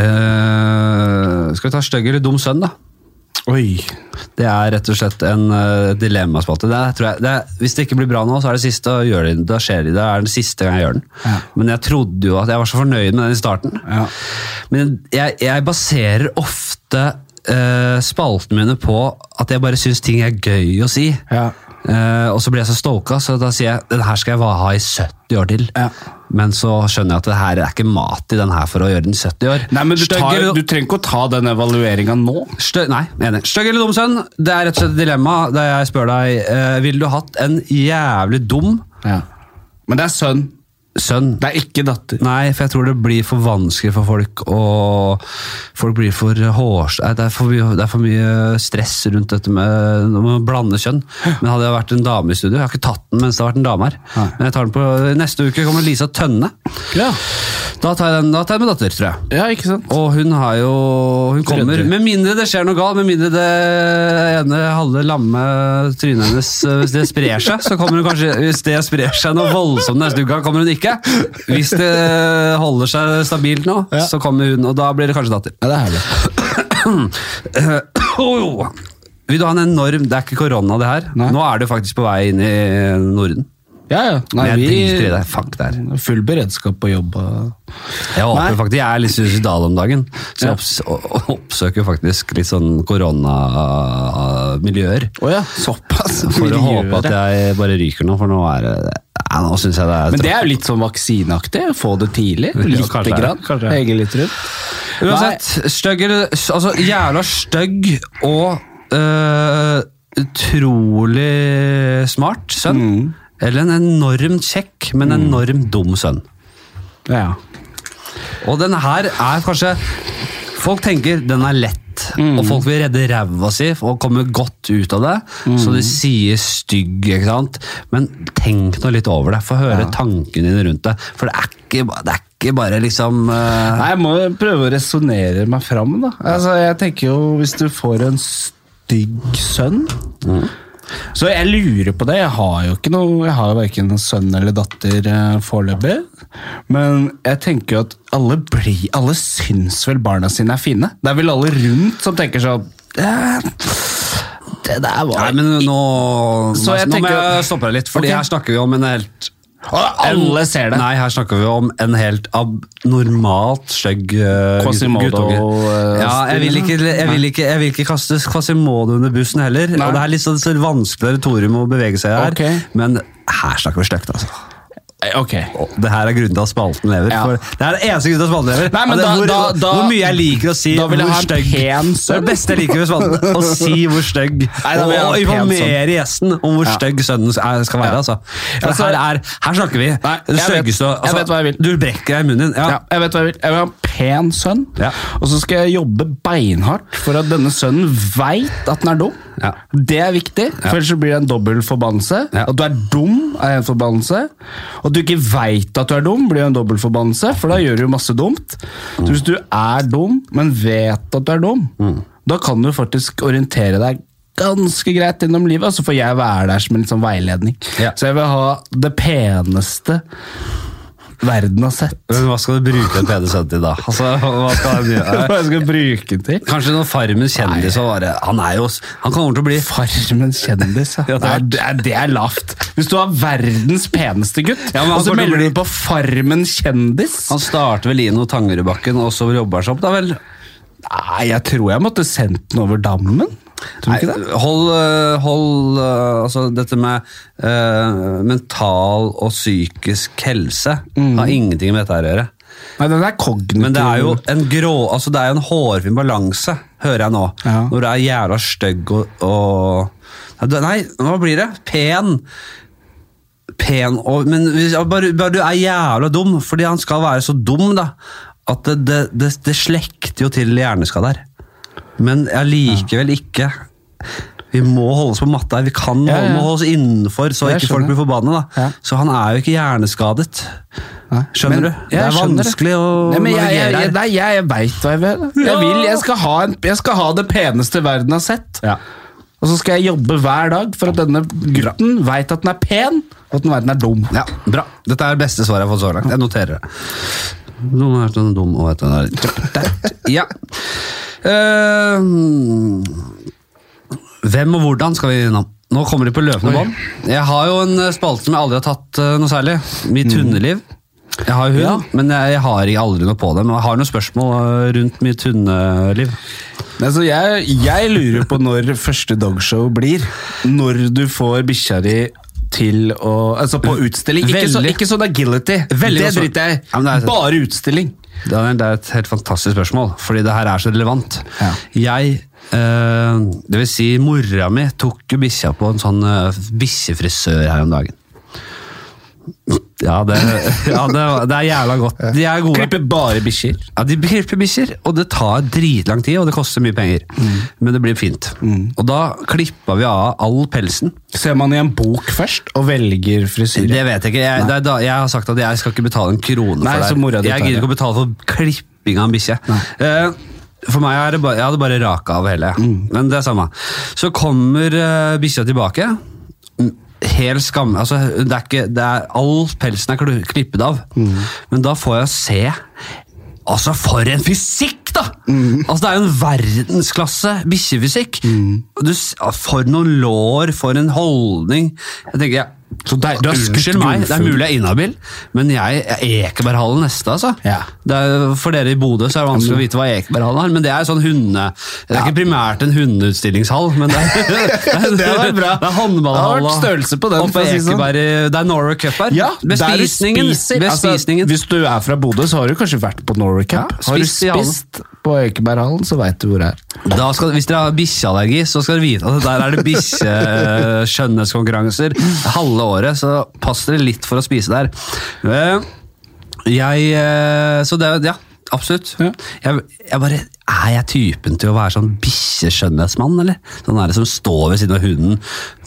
B: eh, skal vi ta stygg eller dum sønn, da?
C: Oi.
B: Det er rett og slett en eh, dilemmaspalte. Det er, tror jeg, det er, hvis det ikke blir bra nå, så er det siste å gjøre det. Da skjer det. Det er den siste gang jeg gjør den.
C: Ja.
B: Men jeg trodde jo at jeg var så fornøyd med den i starten.
C: Ja.
B: Men jeg, jeg baserer ofte eh, spaltene mine på at jeg bare syns ting er gøy å si.
C: Ja.
B: Eh, og så blir jeg så stoka, så da sier jeg den her skal jeg va- ha i 70 år til.
C: Ja.
B: Men så skjønner jeg at det her er ikke mat i den her for å gjøre den 70 år.
C: Nei, men du,
B: Stygg
C: tar,
B: eller-
C: du trenger ikke å ta den evalueringa nå.
B: Stø nei, enig. Stygg eller dum sønn? Det er rett og slett et dilemma der jeg spør deg eh, Ville du hatt en jævlig dum
C: Men det er sønn.
B: sønn?
C: Det er ikke datter.
B: Nei, for jeg tror det blir for vanskelig for folk og Folk blir for hårs... Nei, Det er for, mye, det er for mye stress rundt dette med når man blander kjønn. Men hadde jeg vært en dame i studio Jeg har ikke tatt den mens det har vært en dame her.
C: Nei.
B: Men jeg tar den på Neste uke kommer Lisa Tønne.
C: Ja,
B: Da tar jeg den da tar jeg med datter, tror jeg.
C: ikke sant?
B: Og hun har jo Hun kommer
C: Trønder.
B: Med mindre det skjer noe galt, med mindre det ene halve lamme trynet hennes eh, Hvis det sprer seg, så kommer hun kanskje Hvis det sprer seg noe voldsomt neste uke, kommer hun ikke. Hvis det holder seg stabilt nå,
C: Ja.
B: så kommer hun, og da blir det kanskje datter.
C: Ja, det er herlig.
B: Oh. Vil du ha en enorm Det er ikke korona, det her.
C: Nei.
B: Nå er du faktisk på vei inn i Norden.
C: Ja, ja. Nei,
B: Men jeg driter i
C: vi
B: det. Fuck det her.
C: Full beredskap på jobb. og-
B: Jeg håper
C: Nei.
B: faktisk, jeg er litt suicidal om dagen, så jeg
C: Ja.
B: opps o- oppsøker faktisk litt sånn koronamiljøer.
C: Å ja, såpass.
B: For å
C: Miljøet.
B: håpe at jeg bare ryker nå, for nå er det ja, Nå syns jeg det er
C: Men det er jo litt sånn vaksineaktig. Få det tidlig.
B: Ja,
C: Lite
B: kanskje det er-
C: grann.
B: kanskje det er.
C: Henge litt rundt.
B: Uansett, stygg eller Altså, jævla stygg og øh, utrolig smart sønn. Eller en enormt kjekk, men enormt dum sønn.
C: Ja.
B: Og den her er kanskje Folk tenker den er lett,
C: Mm.
B: og folk vil redde ræva si og komme godt ut av det. Så
C: Mm.
B: de sier stygg, ikke sant. Men tenk nå litt over det. Få høre tankene dine rundt det. For det er ikke, ba- det er ikke bare liksom eh,
C: Nei, jeg må jo prøve å resonnere meg fram, da. Altså, jeg tenker jo, hvis du får en stygg sønn Så jeg lurer på det. Jeg har jo ikke noe, jeg har jo verken en sønn eller datter eh, foreløpig. Men jeg tenker jo at alle, blir, alle syns vel barna sine er fine. Det er vel alle rundt som tenker sånn "Eh, Det der var
B: Nei, men nå,
C: Så jeg
B: nå må
C: tenker-
B: jeg stoppe deg litt, for
C: Ok.
B: her snakker vi om en helt
C: Og alle ser det!
B: Nei, her snakker vi om en helt abnormalt skjegg eh,
C: Quasimodo,
B: guttunge.
C: eh,
B: Ja, jeg vil, ikke, jeg, vil ikke, jeg vil ikke kaste Quasimodo under bussen heller.
C: Nei.
B: Og det er litt sånn så vanskelig territorium å bevege seg i her.
C: Ok.
B: Men her snakker vi stygt, altså.
C: Eh, Ok.
B: Og Det her er grunnen til at spalten lever.
C: Ja.
B: For det er den eneste grunnen til at spalten lever.
C: Nei, men
B: Og det er
C: da-
B: hvor,
C: da- da-
B: hvor mye jeg liker å si
C: Da vil jeg
B: hvor
C: ha en
B: stygg-
C: pen sønn.
B: Det er det beste jeg liker ved spalten. Å si hvor stygg.
C: Nei, da vil jeg ha
B: Og
C: en pen
B: informere gjesten om hvor
C: Ja.
B: stygg sønnen er- skal være. Altså. For
C: Altså-
B: her, er, her snakker vi.
C: Nei,
B: det
C: jeg vet-
B: styggeste og-
C: jeg
B: altså,
C: vet hva jeg vil.
B: Du brekker deg i munnen din. Ja.
C: Ja, jeg vet hva jeg vil. Jeg vil ha en pen sønn,
B: Ja.
C: og så skal jeg jobbe beinhardt for at denne sønnen veit at den er dum.
B: Ja.
C: Det er viktig, for ellers så blir det en dobbel forbannelse.
B: Ja.
C: At du er dum, er en forbannelse. Og at du ikke veit at du er dum, blir jo en dobbel forbannelse, for da gjør du jo masse dumt. Så hvis du er dum, men vet at du er dum,
B: Mm.
C: da kan du faktisk orientere deg ganske greit gjennom livet, og så får jeg være der som en litt sånn veiledning.
B: Ja.
C: Så jeg vil ha det peneste verden har sett.
B: Men hva skal du bruke en PD-sønn til da? Altså, hva skal han gjøre?
C: Hva jeg skal bruke den til?
B: Kanskje noen Farmens kjendis og bare Han er jo Han kommer til å bli
C: Farmen kjendis, ja.
B: det
C: det,
B: er-
C: er, det, er, det er lavt. Hvis du har verdens peneste gutt,
B: Ja, men han
C: og så
B: kommer til å
C: melder
B: bli-
C: du på Farmen kjendis
B: Han starter ved Lino Tangerudbakken, og så jobber han seg opp, da vel?
C: Nei, jeg tror jeg måtte sendt den over dammen. Tror du ikke det?
B: Nei, Hold, øh, hold øh, altså dette med øh, mental og psykisk helse
C: Mm.
B: har ingenting med dette her å gjøre.
C: Nei, den er kognitiv.
B: Men det er jo en grå, altså det er jo en hårfin balanse, hører jeg nå.
C: Ja.
B: Når du er jævla stygg og, og Nei, du- Nei, hva blir det? Pen. Pen og Men hvis, ja, bare, bare du er jævla dum, fordi han skal være så dum, da, at det, det, det, det slekter jo til hjerneskader. Men allikevel ikke. Vi må holde oss på matta her. Vi kan
C: Ja, ja.
B: holde- må holde oss innenfor, så
C: Jeg
B: ikke folk
C: skjønner.
B: blir forbanna. da.
C: Ja.
B: Så han er jo ikke hjerneskadet.
C: Nei.
B: Skjønner du? Det er
C: skjønner
B: vanskelig å
C: Nei, men jeg, jeg,
B: navigere her.
C: jeg, nei, jeg, jeg veit hva jeg vil. Jeg,
B: Ja.
C: vil jeg, skal ha en, jeg skal ha det peneste verden har sett. Og så skal jeg jobbe hver dag for at denne gutten veit at den er pen, og at den veit den er dum.
B: Ja, bra. Dette er det beste svaret jeg har fått så langt. Jeg noterer det. Noen har vært sånn dum og vet den der. Ja. Eh, hvem og hvordan skal vi innom? Nå kommer de på løpende bånd. Jeg har jo en eh, spalte som jeg aldri har tatt eh, noe særlig. Mitt hundeliv. Jeg har jo hund,
C: Ja.
B: men jeg, jeg har ikke aldri noe på det. Men jeg har noen spørsmål eh, rundt mitt hundeliv.
C: Nei, så jeg, jeg lurer på når første dogshow blir. Når du får bikkja di til å Altså på utstilling. Ikke, så,
B: Veldig.
C: ikke sånn agility.
B: Veldig
C: det
B: godt svar.
C: driter jeg i.
B: Ja, men det er-
C: Bare utstilling.
B: Daniel, det er et helt fantastisk spørsmål, fordi det her er så relevant.
C: Ja.
B: Jeg, eh, det vil si mora mi, tok jo bikkja på en sånn eh, bikkjefrisør her om dagen. Ja, det, ja, det, det er jævla godt. De er gode.
C: Klipper bare bikkjer.
B: Ja, De klipper bikkjer, og det tar dritlang tid, og det koster mye penger. Men det blir fint. Og da klippa vi av all pelsen.
C: Ser man i en bok først, og velger frisyre.
B: Det vet jeg ikke. Jeg, det er da, jeg har sagt at jeg skal ikke betale en krone
C: Nei, så
B: for
C: mora
B: det.
C: di
B: Jeg
C: tar
B: gidder
C: det.
B: ikke å betale for klipping av en bikkje. Eh, for meg er det bare, jeg hadde bare raka av hele.
C: Mm.
B: Men det er samme. Så kommer uh, bikkja tilbake. Mm, Helt skam... Altså, det er ikke, det er, all pelsen er klu- klippet av. Men da får jeg se Altså, for en fysikk, da! Altså, Det er jo en verdensklasse bikkjefysikk. Og Du, s- for noen lår, for en holdning. Jeg tenker, ja,
C: Så der- du har skutt
B: Unnskyld meg, det er
C: gullfugl.
B: mulig jeg er inhabil, men jeg er Ekeberghallen neste, altså.
C: Ja.
B: Det er, for dere i Bodø så er det vanskelig å vite hva Ekeberghallen er, men det er sånn hunde... Det er ikke primært en hundeutstillingshall, men det er,
C: Det hadde vært bra.
B: Det er håndballhall.
C: Det hadde vært
B: og-
C: størrelse på den,
B: oppe
C: for å si det sånn.
B: Ekeberg, eh, det er Norway Cup her.
C: Ja, der du
B: Bespisningen.
C: spiser.
B: Bespisningen.
C: Altså, hvis du er fra Bodø, så har du kanskje vært på Norway Cup.
B: Ja,
C: har du
B: spist i hallen.
C: spist på Ekeberghallen, så veit du hvor det er.
B: Da skal, hvis dere har bikkjeallergi, så skal dere vite at der er det bikkjeskjønnhetskonkurranser halve året, så pass dere litt for å spise der. Eh, Jeg eh, Så det er Ja, absolutt.
C: Ja.
B: Jeg, jeg bare Er jeg typen til å være sånn bikkjeskjønnhetsmann, eller? Sånn er det som står ved siden av hunden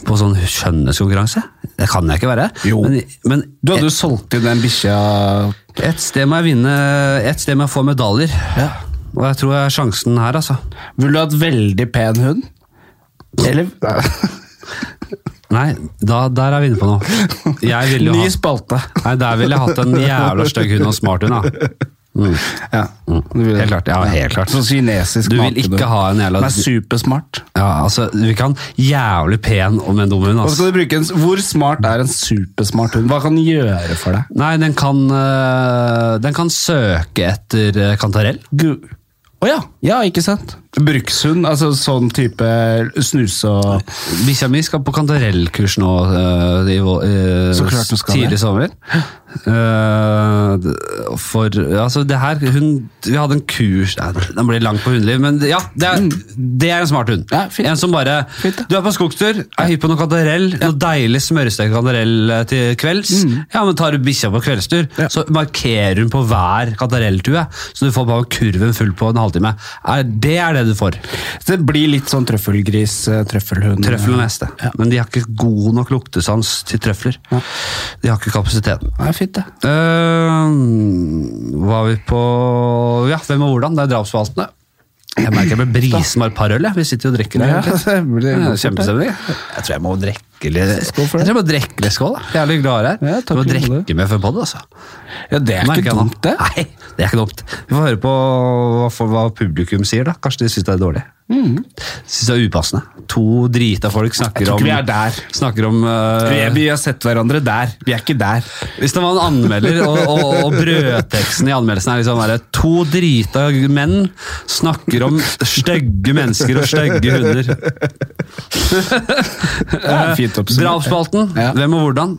B: på sånn skjønnhetskonkurranse? Det kan jeg ikke være.
C: Jo.
B: Men, men
C: Du hadde jo solgt inn den bikkja
B: et sted må jeg vinne Et sted må jeg få medaljer.
C: Ja.
B: Og jeg tror jeg har sjansen her, altså.
C: Ville du hatt veldig pen hund? Eller
B: Nei, da, der er vi inne på noe. Jeg ville jo
C: Ny
B: hatt,
C: spalte.
B: nei, der ville jeg hatt en jævla stygg hund og smart hund, da. Mm.
C: Ja. Du ville-
B: Helt klart, ja, helt klart.
C: Sånn kinesisk
B: Du vil ikke ha en jævla
C: Den er supersmart.
B: ja, altså, Du kan jævlig pen om en dum hund.
C: Hva
B: Altså.
C: skal du bruke en, hvor smart er en supersmart hund? Hva kan den gjøre for deg?
B: Nei, den kan, øh, den kan søke etter øh, kantarell.
C: Gu- Å ja. ja, ikke sant? Brukshund, altså sånn type snuse og
B: Bikkja mi skal på kantarellkurs nå øh, i, vå- øh,
C: Så klart hun skal det.
B: tidlig sommer. Øh, d- for ja, altså, det her hun, Vi hadde en kurs nei, Den blir lang på hundeliv, men ja, det er, det er en smart hund.
C: Ja, fint.
B: En som bare
C: Fint, da.
B: Du er på skogstur, er hypp på noe kantarell, noe deilig smørstekt kantarell eh, til kvelds. Ja, men tar du bikkja på kveldstur,
C: Mm. Ja.
B: så markerer hun på hver kantarelltue, så du får bare kurven full på en halvtime. Er, det er det du får.
C: Det blir litt sånn trøffelgris, eh, trøffelhund.
B: Trøffel og neste. Men de har ikke god nok luktesans til trøfler. De har ikke kapasiteten.
C: Ja, fint, det.
B: Eh, var vi på Ja, hvem og hvordan? Det er drapsforvalterne. Jeg merker jeg blir brisen av et par øl. jeg. Vi sitter jo og drikker.
C: Ja,
B: her, egentlig.
C: det blir
B: Ja,
C: godt.
B: Kjempestemning. Jeg tror jeg må drikke litt Jeg
C: Skål for
B: tror
C: det.
B: jeg må drikke litt skål. da. Jeg er litt glad her.
C: Ja,
B: jeg
C: takk
B: må
C: i like
B: drikke med før podden, altså.
C: Ja, det er
B: Merker
C: ikke
B: jeg nå.
C: dumt, det.
B: Nei, det er ikke dumt. Vi får høre på hva, for, hva publikum sier, da. Kanskje de syns det er dårlig. Syns det er upassende. To drita folk
C: Mm. Jeg
B: snakker
C: tror
B: om
C: ikke vi er der.
B: Snakker om eh,
C: Vi, vi har sett hverandre der. Vi er ikke der.
B: Hvis det var en anmelder, og, og, og brødteksten i anmeldelsen er liksom bare To drita menn snakker om stygge mennesker og stygge hunder.
C: Det er fint oppsummert.
B: Drapsspalten.
C: Ja.
B: Hvem og hvordan?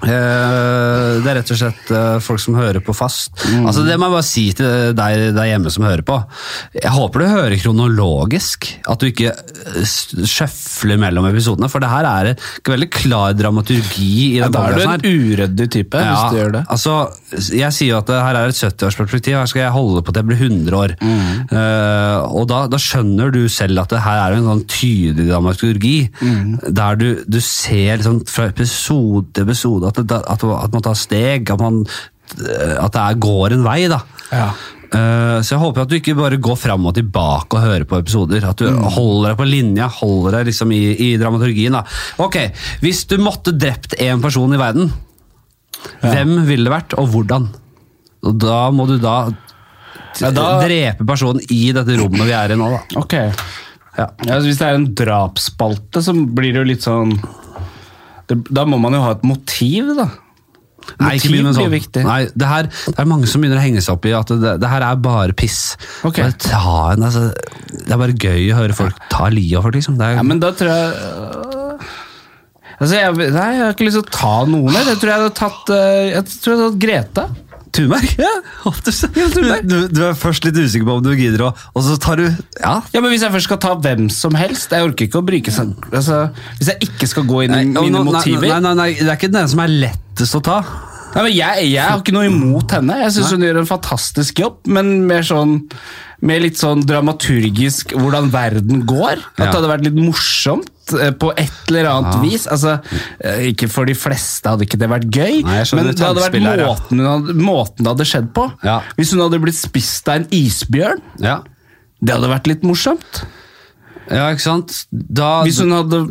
B: Eh, det er rett og slett eh, folk som hører på fast.
C: Mm.
B: Altså Det må jeg bare si til deg der hjemme som hører på. Jeg håper du hører kronologisk. At du ikke eh, s- sjøfler mellom episodene. For det her er ikke veldig klar dramaturgi. i
C: Ja,
B: den
C: da er du
B: podcasten
C: en
B: her.
C: uryddig type hvis du gjør det.
B: Altså, jeg sier jo at det her er et 70-årsperspektiv, her skal jeg holde på til jeg blir 100 år.
C: Mm.
B: Eh, og da, da skjønner du selv at det her er en sånn tydelig dramaturgi,
C: Mm.
B: der du, du ser liksom fra episode til episode at, det, at, at man tar steg, at, man, eh, at det er, går en vei. da.
C: Ja.
B: Eh, så jeg håper at du ikke bare går fram og tilbake og hører på episoder. At du
C: Mm.
B: holder deg på linja, holder deg liksom i, i dramaturgien. da. Ok, Hvis du måtte drept én person i verden, hvem ville det vært, og hvordan? Og da må du da,
C: Ja, da-
B: drepe personen i dette rommet vi er i nå, da.
C: Ok. Ja. altså, hvis det er en drapsspalte, så blir det jo litt sånn det, Da må man jo ha et motiv, da.
B: Nei, ikke begynn med
C: Motiv
B: sånn.
C: blir viktig.
B: Nei, det, her, det er mange som begynner å henge seg opp i at det, det her er bare piss.
C: Ok.
B: Bare ta en, altså, det er bare gøy å høre folk ta livet av folk, liksom. Det er,
C: Ja, men da tror jeg øh, Altså, jeg, nei, jeg har ikke lyst til å ta noen her. Jeg tror jeg hadde tatt, eh, jeg tror jeg hadde tatt Greta.
B: Thunberg?
C: Ja.
B: Du,
C: Thunberg.
B: du, du er først litt usikker på om du gidder, å- og så tar du Ja,
C: Ja, men Hvis jeg først skal ta hvem som helst Jeg orker ikke å bruke sånn altså, Hvis jeg ikke skal gå inn i
B: og
C: mine
B: nå- nei,
C: motiver
B: Nei,
C: Nei,
B: nei, nei, det er ikke den ene som er lettest å ta.
C: men jeg, jeg har ikke noe imot henne. Jeg syns hun gjør en fantastisk jobb, men mer sånn med litt sånn dramaturgisk hvordan verden går. At
B: Ja.
C: det hadde vært litt morsomt eh, på et eller annet vis. Altså, eh, ikke for de fleste hadde ikke det vært gøy,
B: Nei, jeg skjønner
C: men det hadde vært
B: tankespillet her, ja.
C: måten, hun hadde, måten det hadde skjedd på.
B: Ja.
C: Hvis hun hadde blitt spist av en isbjørn,
B: Ja,
C: det hadde vært litt morsomt.
B: ikke sant? Da,
C: Hvis hun hadde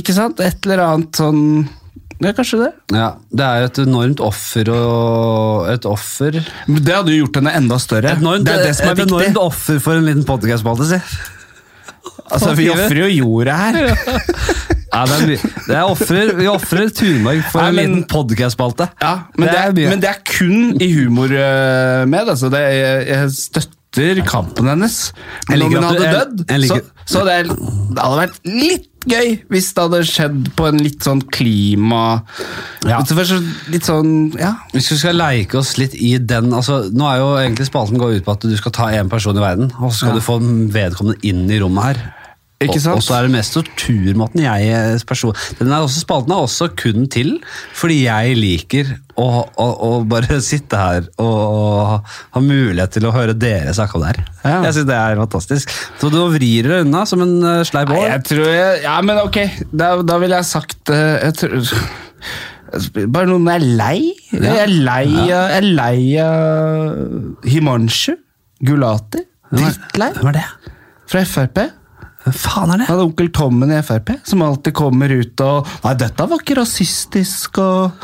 C: Ikke sant? Et eller annet sånn Ja, kanskje det.
B: ja, det er jo et enormt offer og Et offer Et
C: Men det hadde jo gjort henne enda større.
B: enormt,
C: det er det som er
B: et enormt
C: viktig.
B: offer for en liten podkast-spalte, si.
C: Altså, vi ofrer jo jorda her.
B: Ja, det er mye. Det er ofrer, vi ofrer Thunberg for
C: Nei,
B: en
C: men-
B: liten podkast-spalte.
C: Ja, men, det er,
B: mye.
C: men det er kun i humor øh, med. Altså, det, jeg, jeg støtter kampen hennes.
B: Jeg
C: Men om
B: liker
C: hun
B: at du-
C: hadde
B: jeg-
C: dødd,
B: jeg liker-
C: så, så det, er, det hadde vært litt gøy hvis det hadde skjedd på en litt sånn klima...
B: Ja.
C: Så først så Litt sånn, ja.
B: Hvis vi skal leike oss litt i den altså, Nå er jo egentlig spalten går ut på at du skal ta én person i verden, og så skal du få vedkommende inn i rommet her.
C: Ikke sant?
B: Og, og så er det mest torturmåten jeg eh, person... Den er også, spalten er også kun til fordi jeg liker å, å, å bare sitte her og, og ha mulighet til å høre dere snakke om det her.
C: Ja.
B: Jeg syns det er fantastisk. Så du vrir det unna som en eh, sleip
C: Nei,
B: år.
C: jeg tror jeg, Ja, men ok, da, da ville jeg sagt eh, jeg tror, Bare noen jeg er lei. Jeg er lei av Jeg er lei av Himanshu Gulati. Drittlei.
B: Hvem er det?
C: Fra Frp.
B: Hvem faen er det?
C: Jeg hadde onkel Tommen i Frp, som alltid kommer ut og Nei, dette var ikke rasistisk, og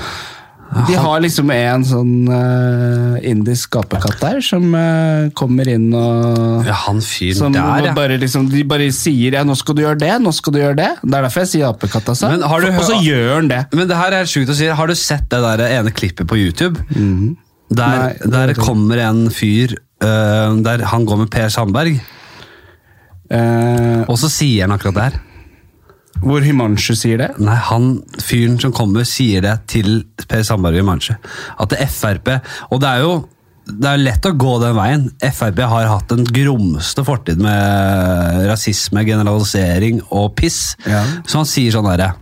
C: De har liksom en sånn eh, indisk apekatt der, som eh, kommer inn og
B: Ja, han fyren
C: som
B: der, ja.
C: bare liksom, de bare sier ja, 'nå skal du gjøre det', 'nå skal du gjøre det'. Det er derfor jeg sier apekatt. Altså.
B: Men har du
C: Og så
B: hø-
C: gjør han det.
B: Men det her er helt sjukt å si. Har du sett det der ene klippet på YouTube? Der,
C: Mhm. Nei, det
B: der
C: vet jeg
B: kommer en fyr øh, der han går med Per Sandberg,
C: Eh,
B: og så sier han akkurat det her.
C: hvor Himanshu sier det.
B: Nei, han fyren som kommer, sier det til Per Sandberg i Manche. At det Frp Og det er jo det er lett å gå den veien. Frp har hatt den grumste fortid med rasisme, generalisering og piss.
C: Ja.
B: Så han sier sånn derre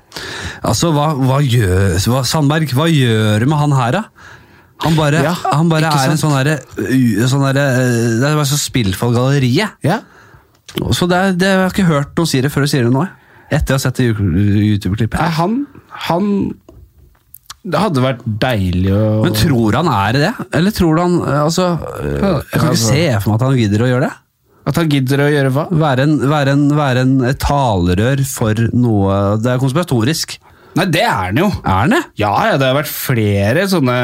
B: Altså, hva, hva gjør hva, Sandberg, hva gjør du med han her, da? Han bare,
C: Ja,
B: han bare
C: ikke
B: er en sånn derre sånn derre, øh, Det er bare så spill for galleriet.
C: Ja.
B: Så det, er- det, jeg har ikke hørt noen si det før du sier det nå. jeg. Etter å ha sett det YouTube-klippet.
C: Nei, han, han Det hadde vært deilig å
B: Men tror han er det? Eller tror han eh, Altså, eh, jeg kan ikke
C: altså.
B: se for meg at han gidder å gjøre det.
C: At han gidder å gjøre hva?
B: Være en, være en, være en et talerør for noe Det er konspiratorisk.
C: Nei, det er han jo.
B: Er han det?
C: Ja, ja, det har vært flere sånne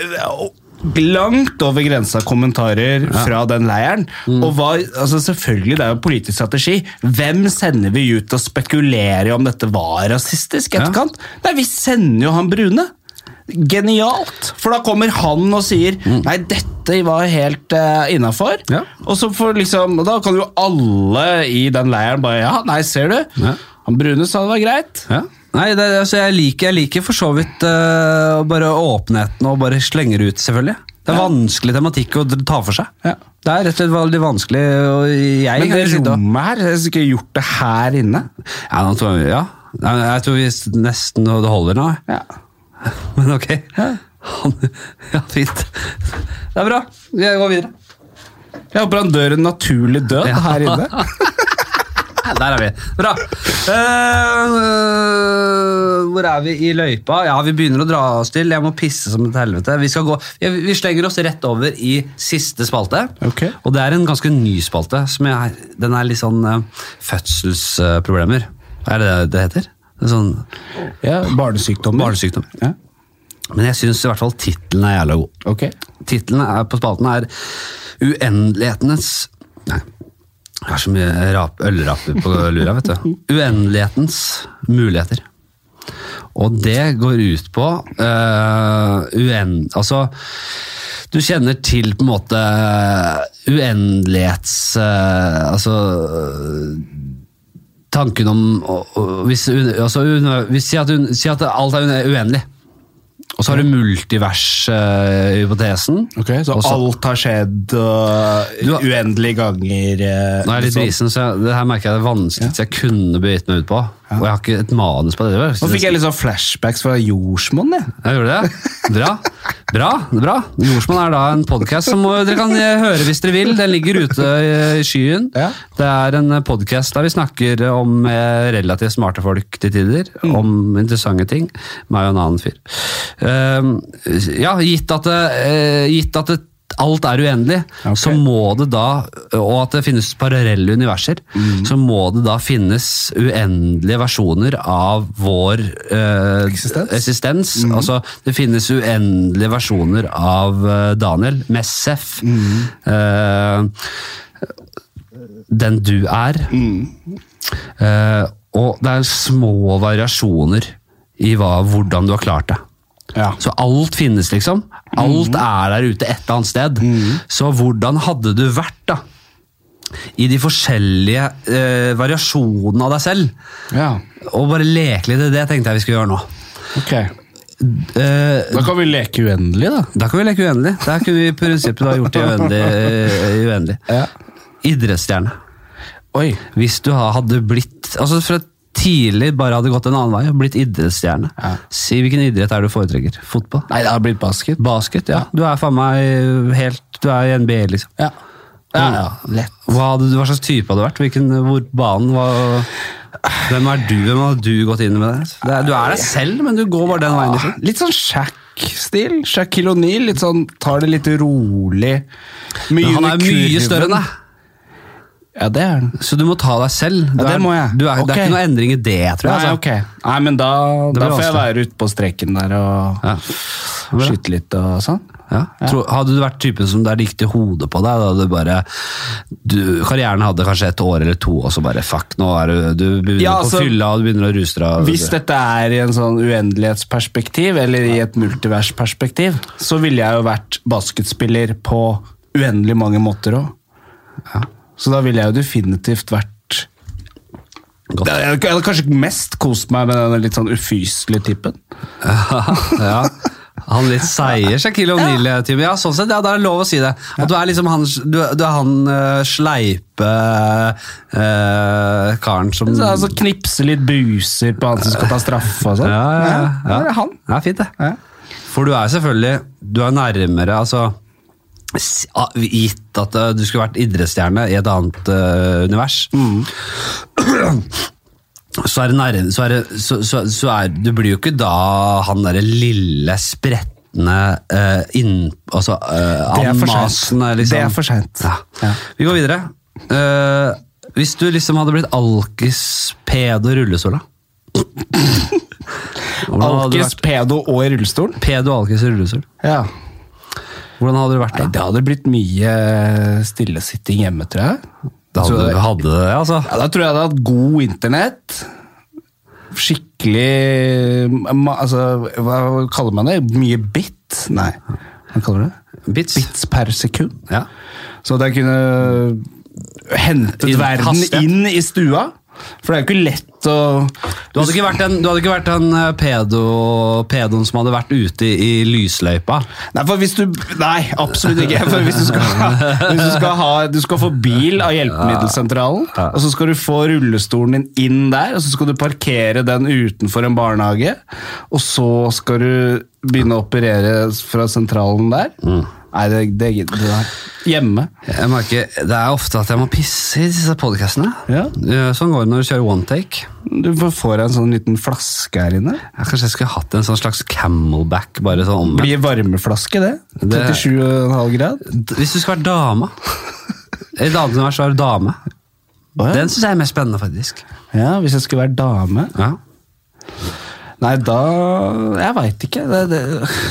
C: eh, langt over grensa kommentarer fra den leiren.
B: Mm.
C: Og hva, altså selvfølgelig, det er jo politisk strategi. Hvem sender vi ut og spekulerer i om dette var rasistisk i
B: Ja.
C: etterkant? Nei, vi sender jo han brune. Genialt! For da kommer han og sier Nei, dette var helt uh, innafor.
B: Mm. Ja.
C: Og så får liksom, og da kan jo alle i den leiren bare Ja, nei, ser du?
B: Ja.
C: Han brune sa det var greit.
B: Nei, det, altså jeg, liker, jeg liker for så vidt eh, bare åpenheten og bare slenger ut, selvfølgelig. Det er
C: Ja.
B: vanskelig tematikk å dr- ta for seg.
C: Ja.
B: Det er rett og slett veldig vanskelig, og jeg
C: Men
B: kan
C: det
B: ikke sitte og-
C: rommet her, jeg skulle ikke gjort det her inne.
B: ja, nå tror jeg, ja. Nei, men jeg tror vi s- nesten det holder nå. jeg.
C: Ja.
B: Men ok. Han, ja, fint. Det er bra. Vi går videre.
C: Jeg håper han dør en naturlig død
B: Ja.
C: her inne.
B: Der er vi. Bra. Eh, eh, hvor er vi i løypa? Ja, Vi begynner å dra oss til. Jeg må pisse som et helvete. Vi, skal gå, ja, vi slenger oss rett over i siste spalte.
C: Ok.
B: Og det er en ganske ny spalte. Som er, den er litt sånn eh, fødselsproblemer. Er det det det heter? En sånn
C: Ja, Barnesykdommer.
B: barnesykdom.
C: Ja.
B: Men jeg syns i hvert fall tittelen er jævla god.
C: Ok.
B: Tittelen er, på spalten er Uendelighetens Nei, jeg har så mye rap, ølraper på lura, vet du. Uendelighetens muligheter. Og det går ut på eh, uen, Altså, du kjenner til på en måte uendelighets... eh, altså eh, tanken om å- å- hvis, altså, un- hvis, si, at un, si at alt er un- uendelig. Og så har du multivers-hypotesen.
C: Ok, Så
B: Og så-
C: alt har skjedd og
B: Du har-
C: uendelige ganger.
B: Nå
C: eh,
B: er jeg litt
C: sånn.
B: brisen, så jeg, det her merker jeg det er vanskeligst jeg kunne begitt meg ut på. Og jeg har ikke et manus på det. det. var-
C: Nå fikk jeg litt sånn flashbacks fra Jordsmonn. jeg.
B: Jeg gjorde det. Bra. Bra. bra. Jordsmonn er da en podkast som dere kan eh, høre hvis dere vil. Den ligger ute eh, i skyen.
C: Ja.
B: Det er en podkast der vi snakker om eh, relativt smarte folk til tider.
C: Mm.
B: Om interessante ting. Meg og en annen fyr. Ehm, Ja, gitt at det, eh, gitt at det Alt er uendelig,
C: Ok.
B: så må det da, og at det finnes parallelle universer,
C: Mm.
B: så må det da finnes uendelige versjoner av vår eh,
C: Eksistens?
B: eksistens. Altså, det finnes uendelige versjoner av eh, Daniel, Messef, eh, den du er. Eh, og det er små variasjoner i hva, hvordan du har klart det.
C: Ja.
B: Så alt finnes, liksom. Alt er der ute et eller annet sted. Så hvordan hadde du vært, da? I de forskjellige eh, variasjonene av deg selv.
C: ja.
B: Og bare leke litt i det, tenkte jeg vi skulle gjøre nå.
C: Ok.
B: Eh,
C: Da kan vi leke uendelig, da.
B: da kan vi leke uendelig. Der kunne vi i prinsippet da gjort det uendelig. eh, uendelig.
C: Ja.
B: Idrettsstjerne.
C: Oi.
B: Hvis du ha- hadde blitt altså fra tidlig bare hadde gått en annen vei og blitt idrettsstjerne,
C: Ja.
B: si hvilken idrett er det du foretrekker? Fotball?
C: Nei, det har blitt basket.
B: Basket? Ja. Du er faen meg helt Du er i NBA, liksom.
C: Ja. Ja, ja. Lett.
B: Hva, hadde, du- hva slags type hadde du vært? Hvilken, hvor banen var Hvem er du? Hvem har du gått inn med det? det er, du er deg selv, men du går bare den veien. Liksom.
C: Litt sånn Shack-stil. Shaquille O'Neal. Litt sånn, tar det litt rolig. Mye
B: Men han er
C: under
B: mye
C: kurven.
B: større enn deg.
C: Ja, det er han.
B: Så du må ta deg selv. Du
C: Ja, det
B: er-
C: må jeg.
B: Du er, Det
C: Ok.
B: er ikke noe endring i det, tror jeg.
C: Nei,
B: altså.
C: ok. Nei, men da,
B: Det
C: da
B: blir
C: får jeg
B: vanskelig.
C: være ute på streken der og
B: Ja.
C: skyte litt og sånn.
B: Ja. Tror- hadde du vært typen som der det gikk til hodet på deg, da hadde du bare du, Karrieren hadde kanskje et år eller to, og så bare fuck, nå er du Du begynner
C: Ja,
B: på
C: altså,
B: fylla, og du begynner å ruse deg. og-
C: Hvis dette er i en sånn uendelighetsperspektiv, eller i et multiversperspektiv, så ville jeg jo vært basketspiller på uendelig mange måter òg. Så da ville jeg jo definitivt vært
B: Godt.
C: Jeg hadde jeg hadde kanskje mest kost meg med den litt sånn ufyselige typen.
B: ja. Han litt seier Shaquille O'Neal-typen. Ja, sånn sett, ja, da er det lov å si det. At du er liksom han, du, du er han eh, sleipe eh, karen som
C: Så altså knipse litt buser på han som skal ta straffe og sånn.
B: Ja, ja, ja.
C: Ja, det er han.
B: Ja, fint det.
C: Ja.
B: For du er selvfølgelig Du er nærmere, altså s- a- Gitt at eh, du skulle vært idrettsstjerne i et annet eh, univers,
C: Mm.
B: så er det nærmere så er det, så, så, så er, Du blir jo ikke da han derre lille, spretne eh, inn, Altså eh,
C: Det er for
B: anmasen,
C: sent.
B: liksom.
C: Det er for sent.
B: Ja.
C: Ja.
B: Vi går videre. Eh, hvis du liksom hadde blitt alkis, pedo, rullesola Hvordan hadde du
C: Alkis,
B: vært?
C: pedo og i rullestolen.
B: Pedo, alkis og rullestol.
C: Ja.
B: Hvordan hadde du vært da?
C: Nei, det hadde blitt mye stillesitting hjemme, tror jeg.
B: Da
C: tror
B: hadde
C: jeg-
B: du hadde det, altså.
C: Ja, da tror jeg jeg hadde hatt god internett. Skikkelig ma- altså, Hva kaller man det? Mye bit? Nei, hva kaller du det?
B: Bits.
C: Bits per sekund.
B: Ja.
C: Så at jeg kunne hentet
B: I
C: verden
B: hastighet.
C: inn i stua. For det er jo ikke lett å
B: Du hadde ikke vært den, du hadde ikke vært den eh, pedo, pedoen som hadde vært ute i lysløypa.
C: Nei, for hvis du Nei, absolutt ikke. For hvis du skal, hvis du skal, ha, du skal få bil av hjelpemiddelsentralen, og så skal du få rullestolen din inn der, og så skal du parkere den utenfor en barnehage, og så skal du begynne å operere fra sentralen der. Nei, det, det gidder du ikke. Hjemme.
B: Jeg merker, Det er ofte at jeg må pisse i disse podcastene.
C: Ja.
B: Eh, Sånn går det når du kjører one take.
C: Du får- får en sånn liten flaske her inne.
B: Ja, kanskje jeg skulle hatt en sånn slags camelback. bare sånn omvendt.
C: Blir varmeflaske, det.
B: Det-
C: 37,5 grad.
B: Hvis du skal være dame I et annet univers så er du dame.
C: Å, ja.
B: Den syns jeg er mest spennende, faktisk.
C: ja, hvis jeg skulle være dame.
B: Ja.
C: Nei, da Jeg veit ikke. Det, det,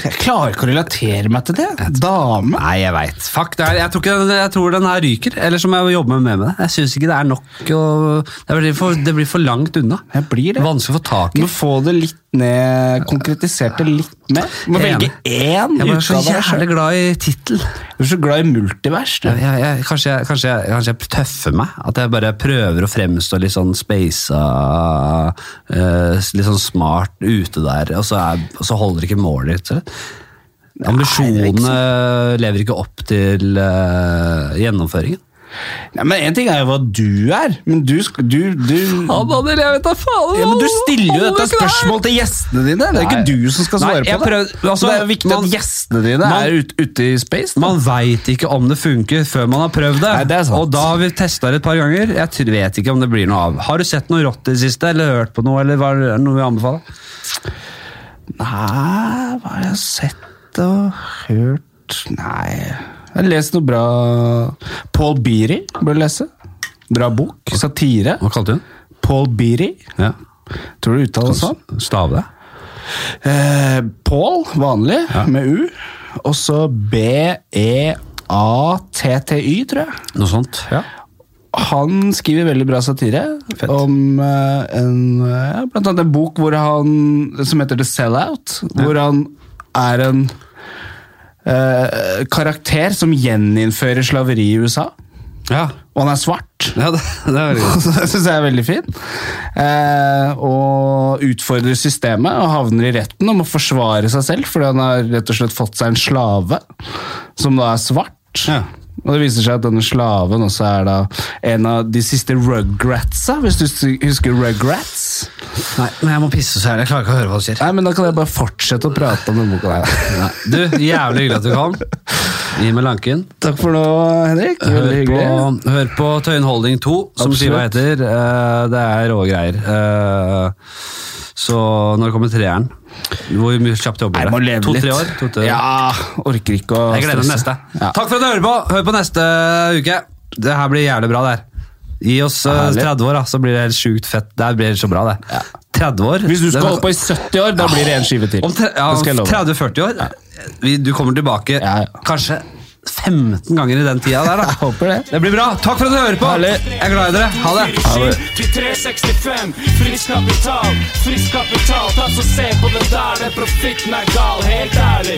C: jeg klarer ikke å relatere meg til det. Dame.
B: Nei, jeg veit. Fuck, det her, jeg, tror ikke, den- jeg tror den her ryker. Eller så må jeg jobbe mer med det. Jeg syns ikke det er nok. å- det, blir for, det blir for langt unna.
C: Jeg blir det.
B: Vanskelig å få tak i.
C: Du må få det litt ned Konkretisert det litt mer. Du må
B: Enig.
C: velge én
B: Jeg
C: utgave
B: var så
C: av deg
B: jævlig
C: selv.
B: glad i tittel.
C: Du er så glad i multivers. Du.
B: Jeg, jeg, jeg, kanskje, jeg, kanskje, jeg, kanskje jeg tøffer meg? At jeg bare prøver å fremstå litt sånn speisa, eh, litt sånn smart ute der, og så, er, og så holder ikke målet ditt. eller? Ambisjonene lever ikke opp til eh, gjennomføringen.
C: Nei, men Én ting er jo hva du er, men du, sk- du, du
B: Daniel, jeg vet da faen!
C: ja, men Du stiller jo dette spørsmålet til gjestene dine! Det er jo
B: Nei.
C: ikke du som skal
B: Nei,
C: svare
B: jeg
C: på det.
B: prøvde- altså,
C: det er jo viktig
B: man-
C: at gjestene dine
B: man-
C: er ut, ute i space. da.
B: Man veit ikke om det funker før man har prøvd det.
C: Nei, det er sant.
B: Og da har vi testa det et par ganger. Jeg tr- vet ikke om det blir noe av. Har du sett noe rått i det siste, eller hørt på noe, eller hva er det- noe vi anbefaler?
C: Nei, hva har jeg sett og hørt Nei Jeg har lest noe bra Paul Beery bør du lese. Bra bok. Satire.
B: Hva kalte du den?
C: Paul Beery.
B: Ja.
C: Tror du det uttales sånn?
B: Stave det?
C: Eh, Paul, vanlig, med U. Og så E B-E-A-T-T-Y, tror jeg.
B: Noe sånt? Ja.
C: Han skriver veldig bra satire om eh, en, eh, blant annet en bok hvor han, som heter The Sellout, hvor han er en eh, karakter som gjeninnfører slaveri i USA,
B: Ja,
C: og han er svart.
B: det, det er veldig godt.
C: Så det syns jeg er veldig fint. Eh, og utfordrer systemet og havner i retten om å forsvare seg selv fordi han har rett og slett fått seg en slave som da er svart.
B: Ja.
C: Og det viser seg at denne slaven også er da en av de siste rugratsa, hvis du husker rugrats.
B: Nei, men jeg må pisse så jævlig. Jeg klarer ikke å høre hva du sier.
C: Nei, men da kan jeg bare fortsette å prate om den boka der.
B: Nei. Du, jævlig hyggelig at du kom. Gi meg lanken.
C: Takk for nå, Henrik.
B: Hør
C: Veldig
B: på,
C: hyggelig.
B: hør på Tøyen Holding 2, som
C: Absolutt.
B: skiva heter. Eh, Det er rå greier. Eh, Så når kommer treeren? Hvor mye kjapt jobber
C: Jeg må
B: dere?
C: leve litt.
B: To-tre år? To,
C: ja, orker ikke å
B: Jeg gleder meg til
C: stresse.
B: neste.
C: Ja.
B: Takk for at du hører på! Hør på neste eh, uke. Det her blir jævlig bra, det her. Gi oss eh,
C: Herlig.
B: 30 år, da, så blir det helt sjukt fett. Det her blir så bra, det. 30 år
C: Hvis du
B: det
C: skal
B: er-
C: holde på i 70 år, da blir det en skive til.
B: Om tre- ja,
C: Det skal jeg
B: om
C: love deg.
B: 30-40 år. Vi, du kommer tilbake
C: Ja, ja.
B: kanskje 15 ganger i den tida der, da.
C: Jeg håper det.
B: Det blir bra. Takk for at du hører på.
C: Herlig.
B: Jeg er glad i dere. Ha det.
A: Til 365, frisk kapital, frisk kapital. Ta så se på det der, det profitten er gal, helt ærlig.